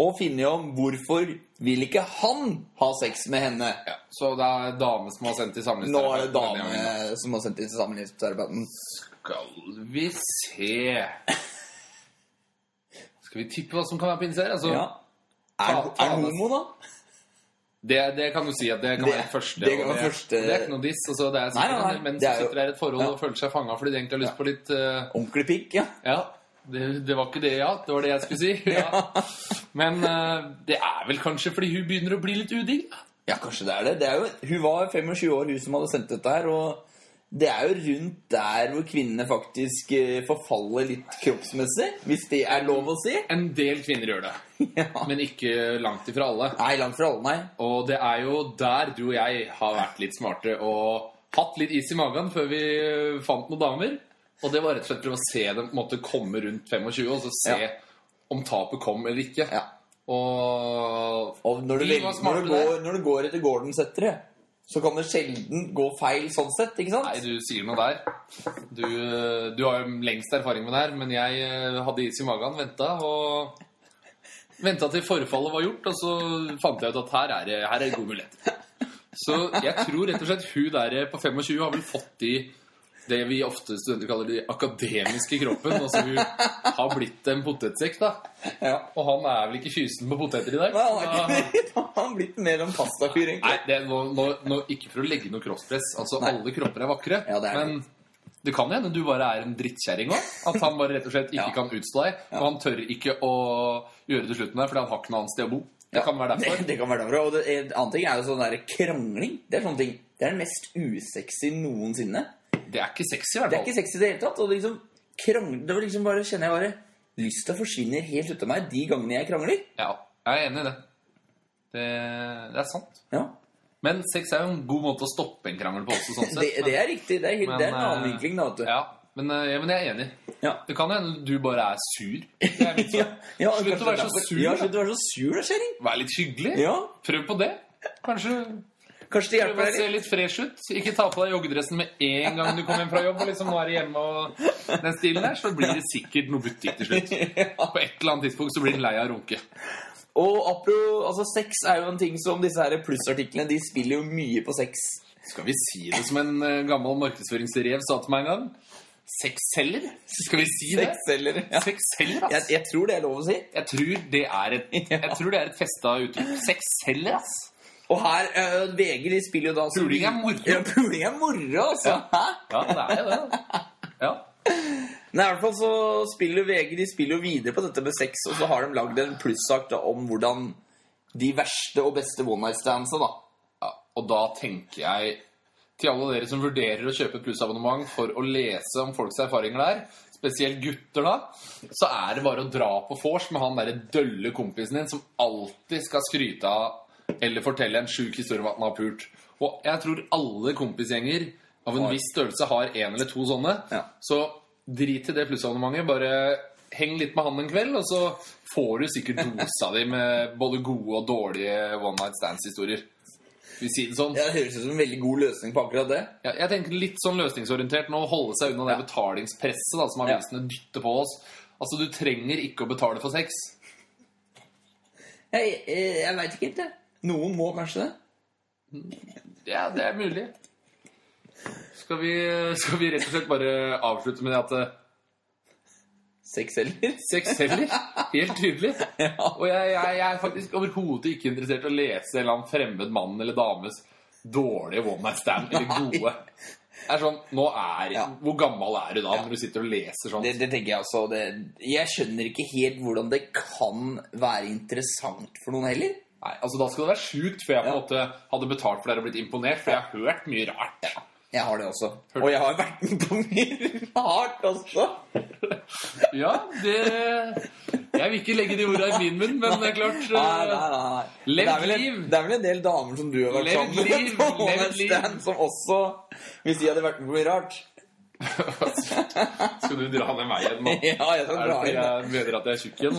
B: og funnet om hvorfor vil ikke han ha sex med henne.
A: ja. Så det er dame som har sendt til samlingsterapeuten.
B: Nå er det
A: denne gangen.
B: dame som har sendt inn til sammenligningsterapeuten.
A: Skal vi se Skal vi tippe hva som kan være pinse her? Altså,
B: Ja. Er er
A: Ta- ta-
B: han homo, da?
A: det, det kan du si at det kan
B: Det-
A: være første.
B: det kan
A: og
B: være første-
A: det er ikke noe diss. Altså, det er
B: Nei,
A: sikkert
B: nei, nei,
A: en del menn
B: det er
A: som
B: jo-
A: sitter der i et forhold
B: Ja.
A: og føler seg fanga fordi de egentlig har lyst på litt eh,
B: Ordentlig pikk, ja.
A: Ja, det, det var ikke det, ja. Det var det jeg skulle si. Ja. Men eh, det er vel kanskje fordi hun begynner å bli litt udigg.
B: Ja, kanskje det er det. det er jo, hun var 25 år, hun som hadde sendt dette her. Og det er jo rundt der hvor kvinnene faktisk eh, forfaller litt kroppsmessig. Hvis det er lov å si.
A: En del kvinner gjør det,
B: Ja.
A: men ikke langt ifra alle.
B: Nei, langt fra alle, nei.
A: Og det er jo der du og jeg har vært litt smarte og hatt litt is i magen før vi eh, fant noen damer. Og det var rett og slett prøve å se dem på en måte komme rundt 25 og så se
B: Ja.
A: om tapet kom eller ikke.
B: Ja.
A: Og
B: Og når du,
A: Vi
B: velger,
A: var
B: når,
A: smarte
B: du går, når du går etter Gordon-settere, så kan det sjelden gå feil sånn sett, ikke sant?
A: Nei, du sier noe der. Du, du har jo lengst erfaring med det her, men jeg eh, hadde is i magen, venta og Venta til forfallet var gjort, og så fant jeg ut at her er det, her er det gode muligheter. Så jeg tror rett og slett hun der på 25 har vel fått i det vi ofte studenter kaller de akademiske kroppen. Altså hun har blitt en potetsekk, da.
B: Ja.
A: Og han er vel ikke kysen på poteter i dag.
B: Nei, han
A: så da-
B: er ikke Han har blitt mer en pastafyr, egentlig.
A: Ah. Nei, det, er nå, nå, nå, ikke for å legge noe crosspress. Altså,
B: Nei.
A: Alle kropper er vakre.
B: Ja, det er
A: men det kan hende du bare er en drittkjerring òg. At han bare rett og slett ikke
B: Ja.
A: kan utstå deg. Og han tør ikke å gjøre det til slutten der, fordi han har ikke noe annet sted å bo. Det
B: Ja,
A: kan være derfor.
B: Det, det kan være derfor. Og det, en annen ting er jo sånn der krangling. Det er sånne ting. Det er det mest usexy noensinne.
A: Det er ikke sexy, i hvert
B: Det er
A: fall.
B: ikke sexy i det hele tatt. Og det liksom krang... Det var liksom bare, kjenner jeg bare lysta forsvinner helt ut av meg de gangene jeg krangler.
A: Ja, jeg er enig i det. Det, det er sant.
B: Ja.
A: Men sex er jo en god måte å stoppe en krangel på også, sånn sett.
B: Det, det er riktig. Det er, helt,
A: Men,
B: det er en annen
A: eh,
B: vinkling, da. vet du.
A: Ja, men, eh, men jeg er enig.
B: Ja.
A: Det kan hende du bare er sur. Det er mitt
B: Ja,
A: svar.
B: ja,
A: Slutt å
B: kanskje
A: være så
B: derfor-
A: sur,
B: Ja,
A: da.
B: slutt å være så sur, da, kjerring.
A: Vær litt hyggelig.
B: Ja.
A: Prøv på det. Kanskje
B: Kanskje det
A: prøv å
B: hjelper deg
A: se
B: litt.
A: litt fresh ut. Ikke ta på deg joggedressen med en gang du kommer hjem fra jobb. Og liksom nå er det hjemme og den stilen der, så blir det sikkert noe butikk til slutt. På et eller annet tidspunkt så blir den lei av å runke.
B: Og apro, altså sex er jo en ting som disse her plussartiklene De spiller jo mye på sex.
A: Skal vi si det som en eh, gammel markedsføringsrev sa til meg en gang? Sex selger? Skal vi si det?
B: Sex eller ja.
A: Sex selger,
B: jeg,
A: ass.
B: jeg tror det er lov å si.
A: Jeg tror det er et, jeg tror det er et festa uttrykk. Sex selger, ass.
B: Og her, øh, VG de spiller jo da så-
A: Puling er moro.
B: Ja, puling er moro, altså. Hæ?
A: Ja, det er jo det. Ja.
B: Nei, i hvert fall så spiller jo VG de spiller jo videre på dette med sex, og så har de lagd en plussak da om hvordan de verste og beste one night standsa, da.
A: ja. Og da tenker jeg til alle dere som vurderer å kjøpe et plussabonnement for å lese om folks erfaringer der, spesielt gutter, da, så er det bare å dra på vors med han derre dølle kompisen din som alltid skal skryte av eller fortelle en sjuk historie om at han har pult. Og jeg tror alle kompisgjenger av en
B: Har.
A: viss størrelse har en eller to sånne.
B: Ja.
A: Så drit i det plussabonnementet. Bare heng litt med han en kveld, og så får du sikkert dosa di med både gode og dårlige one night stands-historier. Vi sier det sånn.
B: Ja, det høres ut som en veldig god løsning på akkurat det.
A: Ja, jeg tenker litt sånn løsningsorientert nå. Holde seg unna det betalingspresset da, som
B: Ja.
A: avisene dytter på oss. Altså, du trenger ikke å betale for sex.
B: Jeg, jeg, jeg veit ikke helt, jeg. Noen må kanskje det.
A: Ja, det er mulig. Skal vi, skal vi rett og slett bare avslutte med det at eh,
B: Sex eller?
A: sex selger? Helt tydelig.
B: Ja.
A: Og jeg, jeg, jeg er faktisk overhodet ikke interessert i å lese en eller annen fremmed mann eller dames dårlige one night stand eller gode. Det er sånn, nå er,
B: Ja.
A: Hvor gammel er du da når du sitter og leser sånn?
B: Det, det tenker jeg også. Det, jeg skjønner ikke helt hvordan det kan være interessant for noen heller.
A: Nei, altså Da skal det være sjukt før jeg på en
B: Ja.
A: måte hadde betalt for det og blitt imponert. For jeg har hørt mye rart.
B: Jeg har det også. Og jeg har vært med på mye rart også.
A: Ja, det Jeg vil ikke legge de orda i min munn, men det er klart eh,
B: Nei, nei, nei. nei.
A: Lev
B: det, er vel en,
A: liv.
B: det er vel en del damer som du har vært
A: Lev
B: sammen med
A: liv,
B: på
A: lev
B: One Night
A: liv.
B: Stand, som også Hvis de hadde vært med på mye rart
A: altså, Skal du dra den veien nå?
B: Ja, jeg
A: Er
B: skal
A: det
B: dra
A: fordi
B: inn.
A: jeg mener at jeg er tjukk igjen?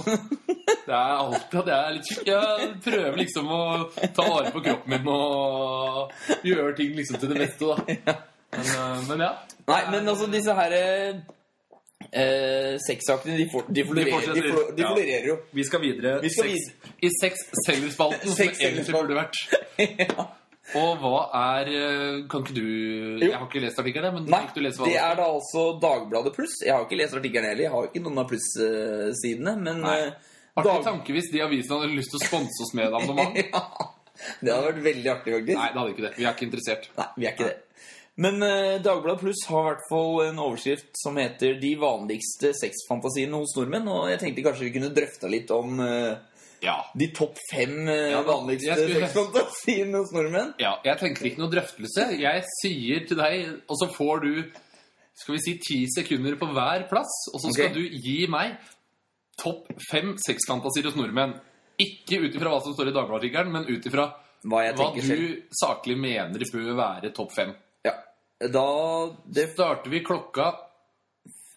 A: altså. Det er alltid at jeg er litt tjukk. Jeg prøver liksom å ta vare på kroppen min og gjøre ting liksom til det beste, da. Men, eh, men ja.
B: Nei, men altså, disse her eh, eh, sexsakene, de, for, de, florerer, de,
A: fortsetter.
B: flor- de
A: Ja.
B: florerer jo.
A: Vi skal videre
B: Vi skal
A: sex, i sexselgerspalten, som
B: Sex
A: egentlig burde vært.
B: ja.
A: Og hva er eh, Kan ikke du
B: Jo.
A: Jeg har ikke lest artikkelen, men
B: Nei,
A: kan ikke du lese hva
B: det er da altså Dagbladet Pluss. Jeg har ikke lest artikkelen heller. Jeg har ikke noen av plussidene, men
A: Nei.
B: eh,
A: Artig
B: Dag-
A: tanke hvis de avisene hadde lyst til å sponse oss med et abonnement. Nei,
B: ja. Det hadde vært veldig artig, faktisk.
A: det hadde ikke det. Vi er ikke interessert.
B: Nei, vi er ikke det. Men eh, Dagbladet Pluss har i hvert fall en overskrift som heter 'De vanligste sexfantasiene hos nordmenn'. Og jeg tenkte kanskje vi kunne drøfta litt om eh,
A: Ja.
B: de topp fem eh,
A: Ja, da-
B: vanligste
A: jeg skulle-
B: sexfantasiene hos nordmenn.
A: ja. Jeg tenker ikke noe drøftelse. Jeg sier til deg, og så får du skal vi si ti sekunder på hver plass, og så skal
B: Ok.
A: du gi meg topp fem sexfantasier hos nordmenn. Ikke ut ifra hva som står i Dagbladet-artikkelen, men ut ifra
B: Hva jeg
A: hva
B: tenker selv.
A: du saklig mener bør være topp fem.
B: Ja. Da det,
A: Starter vi klokka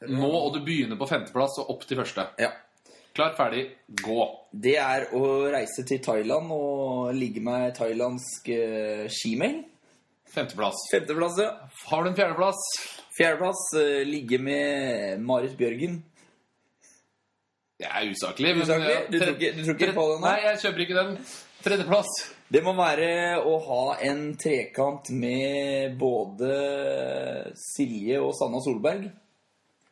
A: nå, og du begynner på femteplass og opp til første.
B: ja.
A: Klar, ferdig, gå.
B: det er å reise til Thailand og ligge med ei thailandsk uh, skimail.
A: Femteplass.
B: Femteplass, ja.
A: Har du en fjerdeplass?
B: Fjerdeplass eh, ligge med Marit Bjørgen.
A: Det er usaklig. men- eh,
B: Usaklig? Du tror ikke, du tror ikke på den? da?
A: Nei, jeg kjøper ikke den. Tredjeplass.
B: Det må være å ha en trekant med både Silje og Sanna Solberg.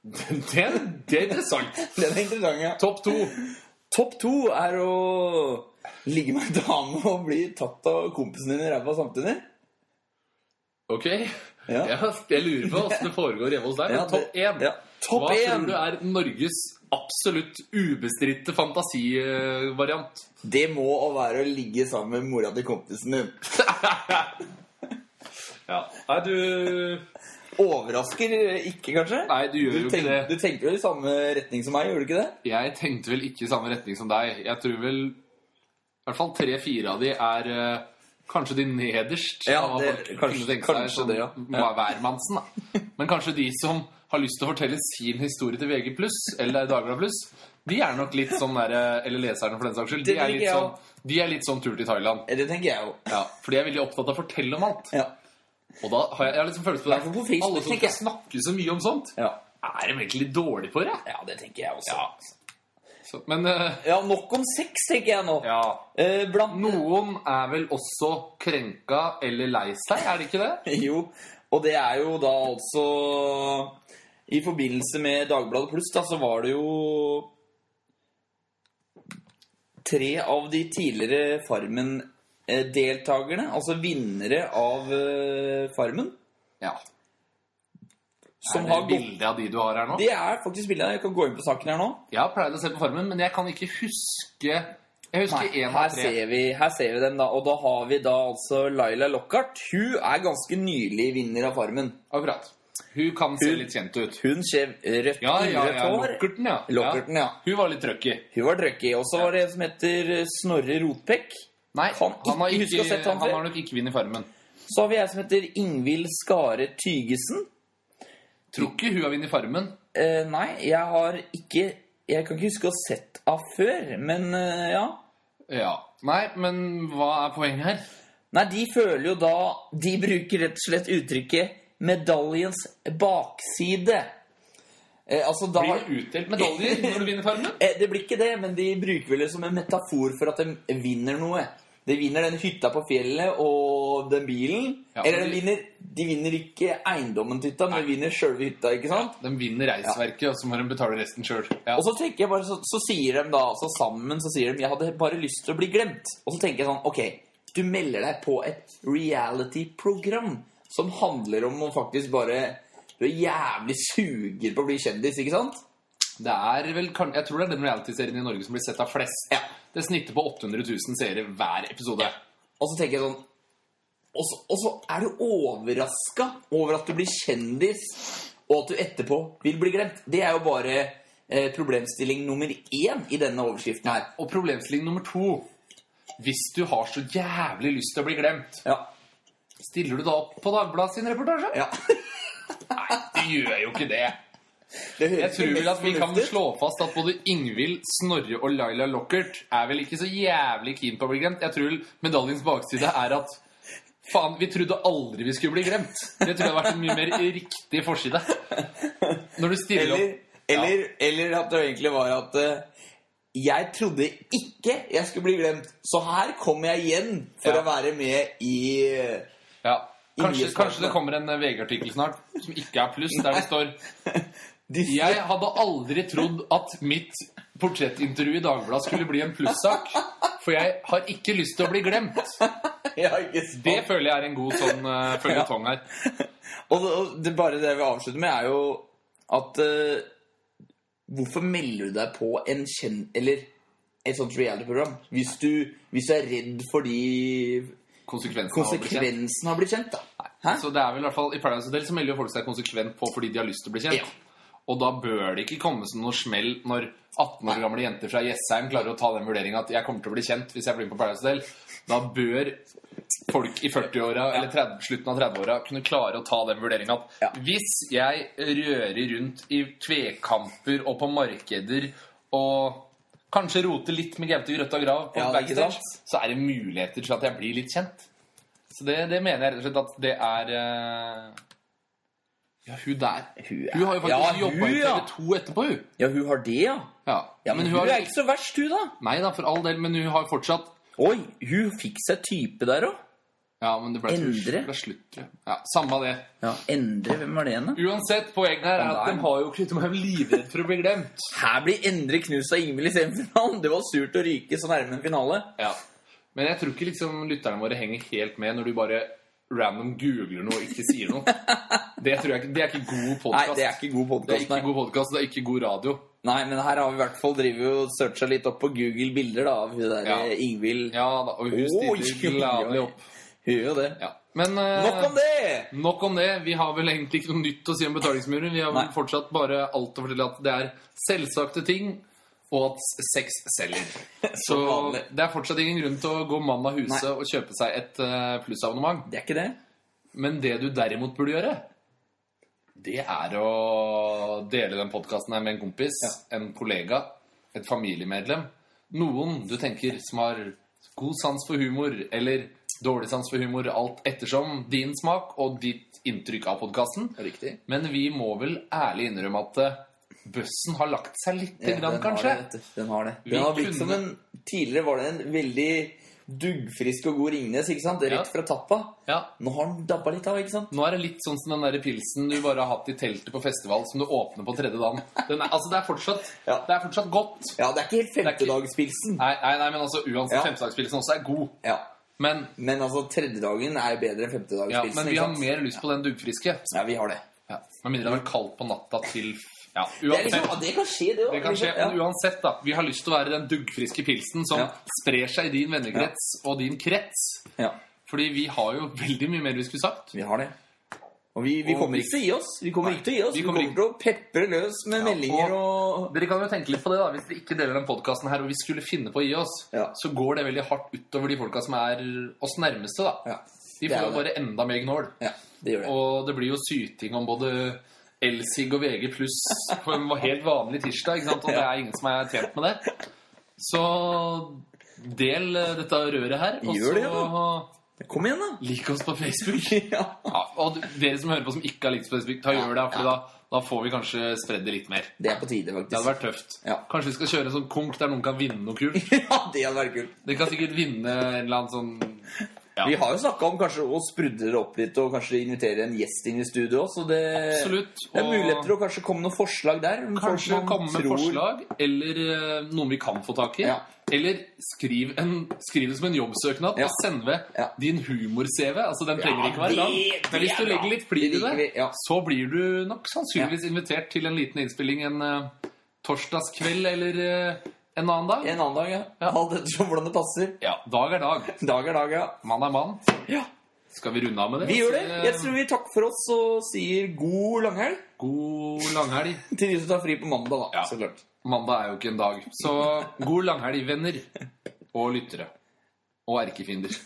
A: Den, det er interessant.
B: Den er interessant, ja.
A: Topp to.
B: Topp to er å ligge med ei dame og bli tatt av kompisen din i ræva samtidig.
A: Ok.
B: Ja.
A: Ja, jeg lurer på åssen det foregår hjemme hos deg. men
B: Ja, det-
A: topp én.
B: ja. Topp
A: Hva
B: én.
A: tror du er Norges absolutt eh, ubestridte fantasivariant?
B: Det må å være å ligge sammen med mora til kompisen din.
A: Ja. Nei, du
B: Overrasker ikke, kanskje?
A: Nei, du gjør
B: Du,
A: jo ikke
B: tenk,
A: det.
B: du tenkte vel i samme retning som meg, gjorde du ikke det?
A: Jeg tenkte vel ikke i samme retning som deg. Jeg tror vel i hvert fall tre-fire av de er eh, kanskje de nederst.
B: Ja,
A: av hva
B: det-
A: folk
B: kansks-
A: kunne tenke
B: kanskje
A: seg, som
B: det, ja.
A: hva er hvermannsen, da. Men kanskje de som har lyst til å fortelle sin historie til VG+, eller Dagbladet Pluss, de er nok litt sånn der, eh, eller leserne for den saks skyld,
B: Det
A: de er
B: tenker
A: litt
B: jeg
A: sånn, de er litt sånn tur til Thailand.
B: Det tenker jeg jo.
A: Ja, for de er veldig opptatt av å fortelle om alt.
B: Ja.
A: Og da har jeg, jeg har liksom følelse på
B: I hvert fall på
A: det.
B: Facebook,
A: Alle som skal
B: tenker jeg.
A: snakke så mye om sånt,
B: Ja.
A: er de egentlig litt dårlige på det.
B: ja, det tenker jeg også.
A: Ja. Så, men... eh,
B: Ja, nok om sex, tenker jeg nå.
A: Ja.
B: Eh, blant
A: Noen er vel også krenka eller lei seg, er det ikke det?
B: Jo, og det er jo da altså I forbindelse med Dagbladet Pluss, da, så var det jo Tre av de tidligere Farmen-deltakerne, altså vinnere av eh, Farmen,
A: Ja.
B: som
A: er det
B: har gått
A: bildet av de du har her nå?
B: Det er faktisk bildet. Jeg kan gå inn på saken her nå.
A: Jeg har pleid å se på Farmen, men jeg kan ikke huske Jeg
B: Nei,
A: husker én
B: her,
A: av tre.
B: ser vi, her ser vi dem, da. Og da har vi da altså Laila Lockhart. Hun er ganske nylig vinner av Farmen.
A: Akkurat. Hun kan se
B: Hun-
A: litt kjent ut.
B: Hun skjev rødt
A: Ja, ja,
B: innrødt
A: ja.
B: hår.
A: Lockerten, ja.
B: Lockerten, ja.
A: Hun var litt trøkk i.
B: Hun var drøkket. Og så var det en som heter eh, Snorre Rotpekk.
A: Nei,
B: Kan
A: han har,
B: ikke huske å
A: ikke,
B: ha sett han
A: han
B: før.
A: har nok ikke vunnet Farmen.
B: Så har vi ei som heter Ingvild Skare Tygesen.
A: Tror ikke hun har vunnet Farmen.
B: Eh, nei, jeg har ikke Jeg kan ikke huske å ha sett henne før, men eh, ja.
A: Ja. Nei, men hva er poenget her?
B: Nei, de føler jo da De bruker rett og slett uttrykket 'medaljens bakside'. Eh, altså, da
A: Blir det utdelt medaljer når du vinner Farmen?
B: Eh, Det blir ikke det, men de bruker vel det som en metafor for at de vinner noe. De vinner den hytta på fjellet og den bilen.
A: Ja,
B: Eller
A: men
B: de
A: de-
B: vinner, de vinner ikke eiendommen til hytta, men de vinner sjølve hytta. ikke sant?
A: De vinner reisverket, og så må de betale resten sjøl. Ja.
B: Og så tenker jeg bare, så, så sier de da, altså sammen så sier de, jeg hadde bare lyst til å bli glemt. Og så tenker jeg sånn, ok, du melder deg på et reality-program som handler om å faktisk bare, du er jævlig suger på å bli kjendis, ikke sant?
A: Det er vel, kan- Jeg tror det er den realityserien i Norge som blir sett av flest.
B: Ja.
A: Det snitter på 800 000 seere hver episode.
B: Og så tenker jeg sånn Og så, og så er du overraska over at du blir kjendis, og at du etterpå vil bli glemt. Det er jo bare eh, problemstilling nummer én i denne overskriften her.
A: Og problemstilling nummer to Hvis du har så jævlig lyst til å bli glemt,
B: Ja.
A: stiller du da opp på Dagbladet sin reportasje?
B: ja.
A: Nei, du gjør jo ikke det.
B: Det høres
A: Jeg tror
B: ikke
A: vel at vi
B: mest
A: kan
B: fornuftig ut.
A: slå fast at både Ingvild, Snorre og Laila Lockert er vel ikke så jævlig keen på å bli glemt. Jeg tror vel medaljens bakside er at Faen, vi trodde aldri vi skulle bli glemt. Det tror jeg hadde vært en mye mer riktig forside. Når du stiller
B: Eller,
A: opp
B: eller, eller at det egentlig var at eh, jeg trodde ikke jeg skulle bli glemt, så her kommer jeg igjen for
A: Ja.
B: å være med i eh,
A: Ja. Kanskje,
B: Ingen
A: kanskje det
B: spørsmål.
A: kommer en eh, VG-artikkel snart som ikke er pluss, der det står
B: de,
A: Jeg hadde aldri trodd at mitt portrettintervju i Dagbladet skulle bli en plussak, for jeg har ikke lyst til å bli glemt.
B: Ja, ikke sant?
A: Det føler jeg er en god sånn uh, føljetong her.
B: Og, og det, bare det jeg vil avslutte med, er jo at eh, Hvorfor melder du deg på en kjenn... Eller et sånt reality-program hvis, du- hvis du er redd for de
A: Konsekvensene av å bli kjent.
B: konsekvensene av å bli kjent, da. Hæ?
A: Så det er vel i hvert fall, i Paradise Hotel så melder jo folk seg konsekvent på fordi de har lyst til å bli kjent.
B: Ja.
A: Og da bør det ikke komme som noe smell når 18 år gamle jenter fra Jessheim klarer å ta den vurderingen at jeg kommer til å bli kjent hvis jeg blir med på Paradise Hotel. Da bør folk i 40-åra eller 30, slutten av 30-åra kunne klare å ta den vurderingen at
B: Ja.
A: hvis jeg rører rundt i tvekamper og på markeder og kanskje roter litt med Gaute Grøtta Grav på
B: Ja, det er ikke
A: backstage,
B: sant.
A: så er det muligheter til at jeg blir litt kjent. Så det, det mener jeg rett og slett at det er eh, Ja, hun der.
B: Hun er-
A: Hun har jo faktisk
B: Ja, hun,
A: jobba i
B: ja.
A: TV2 etterpå, hun.
B: Ja, hun har det, ja.
A: Ja.
B: ja men hun,
A: har,
B: er ikke så verst, hun, da.
A: Nei da, for all del, men hun har jo fortsatt
B: Oi, hun fikk seg type der òg.
A: Ja, men det ble,
B: Endre?
A: det ble slutt, tror jeg. Ja, Samme av det.
B: Ja, Endre, hvem var det igjen, da?
A: Uansett, poenget her er
B: Han
A: at
B: der.
A: de har jo ikke De er jo livredd for å bli glemt.
B: Her blir Endre knust av Ingvild i semifinalen! Det var surt å ryke så nærme en finale.
A: Ja. Men jeg tror ikke liksom lytterne våre henger helt med når du bare random googler noe og ikke sier noe. Det tror jeg ikke, det er ikke god
B: Nei,
A: podkast.
B: det er ikke god
A: Det er
B: podkast,
A: ikke god podcast, det er ikke god radio.
B: Nei, men her har vi i hvert fall drivet og searcha litt opp på Google bilder da, av hun der
A: Ja.
B: eh, Ingvild.
A: Ja, da, og hun
B: Oi,
A: stiller gladelig opp.
B: Gjør jo det.
A: Ja. Men eh,
B: Nok om det!
A: Nok om det. Vi har vel egentlig ikke noe nytt å si om betalingsmuren. Vi har vel
B: Nei.
A: fortsatt bare alt å fortelle at det er selvsagte ting, og at sex selger. Så
B: vanlig.
A: det er fortsatt ingen grunn til å gå mann av huset
B: Nei.
A: og kjøpe seg et eh, plussabonnement.
B: Det er ikke det.
A: Men det du derimot burde gjøre, det er å dele den podkasten her med en kompis, en kollega, et familiemedlem. Noen du tenker som har god sans for humor, eller dårlig sans for humor, alt ettersom din smak og ditt inntrykk av podkasten.
B: Riktig.
A: Men vi må vel ærlig innrømme at eh, bøssen har lagt seg lite
B: Ja,
A: grann,
B: den
A: kanskje?
B: Har det, vet du. den har det.
A: Vi
B: Den har blitt som en,
A: kunne-
B: tidligere var det en veldig duggfrisk og god Ringnes, ikke sant? Rett
A: Ja.
B: fra tappa.
A: Ja.
B: Nå har den dabba litt av, ikke sant?
A: Nå er det litt sånn som den der pilsen du bare har hatt i teltet på festival, som du åpner på tredje dagen. Den er, altså, det er fortsatt,
B: Ja.
A: det er fortsatt godt.
B: Ja, det er ikke helt
A: er ikke-
B: femtedagspilsen.
A: Nei, nei, nei, men altså, uansett,
B: Ja.
A: femtedagspilsen også er god.
B: Ja.
A: Men,
B: Men altså, tredjedagen er jo bedre enn
A: ja,
B: femtedagspilsen.
A: men vi
B: ikke
A: har
B: sant?
A: mer lyst på den duggfriske.
B: Ja, vi har det.
A: Ja. Med mindre det har vært kaldt på natta til Ja,
B: Det, er liksom,
A: uansett.
B: ja, det kan skje, det òg.
A: Det kan skje, men uansett, da. Vi har lyst til å være den duggfriske pilsen som
B: Ja.
A: sprer seg i din vennekrets og din krets.
B: Ja. ja,
A: Fordi vi har jo veldig mye mer vi skulle sagt.
B: vi har det. Og vi, vi
A: Og
B: kommer
A: vi-
B: ikke til å gi oss. Vi kommer
A: Nei.
B: ikke til å gi oss.
A: Vi
B: Vi
A: kommer
B: kommer til å pepre løs med meldinger og
A: Dere kan jo tenke litt på det, da. Hvis dere ikke deler den podkasten her, og vi skulle finne på å gi oss,
B: Ja.
A: så går det veldig hardt utover de folka som er oss nærmeste, da.
B: Ja,
A: De
B: det er
A: får jo bare
B: det.
A: enda mer gnål.
B: ja det gjør det.
A: Og det blir jo syting om både Elsig og VG pluss på en helt vanlig tirsdag, ikke sant? og det er ingen som er tjent med det. Så del eh, dette røret her, og
B: Gjør det,
A: så
B: Kom igjen, da!
A: lik oss på Facebook.
B: Ja.
A: Ja, og dere som hører på som ikke har likt på Facebook, ta og gjør det, for da, da får vi kanskje spredd det litt mer.
B: Det er på tide, faktisk.
A: Det hadde vært tøft.
B: Ja.
A: Kanskje vi skal kjøre en sånn konk der noen kan vinne noe kult.
B: ja, det hadde vært kult.
A: Dere kan sikkert vinne en eller annen sånn Ja.
B: Vi har jo snakka om kanskje å sprudle det opp litt og kanskje invitere en gjest inn i studio òg, så det,
A: Absolutt.
B: Eh, det er
A: og-
B: muligheter til å kanskje komme noen forslag der. om folk
A: Kanskje
B: man
A: komme med
B: tror-
A: forslag, eller eh, noen vi kan få tak i.
B: Ja.
A: Eller skriv, en, skriv det som en jobbsøknad
B: Ja.
A: og send ved
B: Ja.
A: din humor-CV. Altså, Den trenger
B: Ja,
A: ikke være
B: det-
A: lang,
B: det
A: men hvis
B: er
A: du
B: bra.
A: legger litt flid
B: Det
A: i det,
B: liker vi, ja.
A: så blir du nok sannsynligvis invitert til en liten innspilling en eh, torsdagskveld eller eh, en annen dag.
B: En annen dag, ja.
A: Ja.
B: Alt ettersom hvordan det passer.
A: Ja, dag er dag.
B: Dag er dag, ja.
A: Mann er mann.
B: ja.
A: Skal vi runde av med det?
B: Vi gjør det.
A: Så, eh,
B: Jeg tror vi takker for oss og sier god langhelg
A: God langhelg.
B: til de som tar fri på mandag, da.
A: Ja.
B: Så klart.
A: Mandag er jo ikke en dag. Så god langhelg, venner og lyttere. Og erkefiender.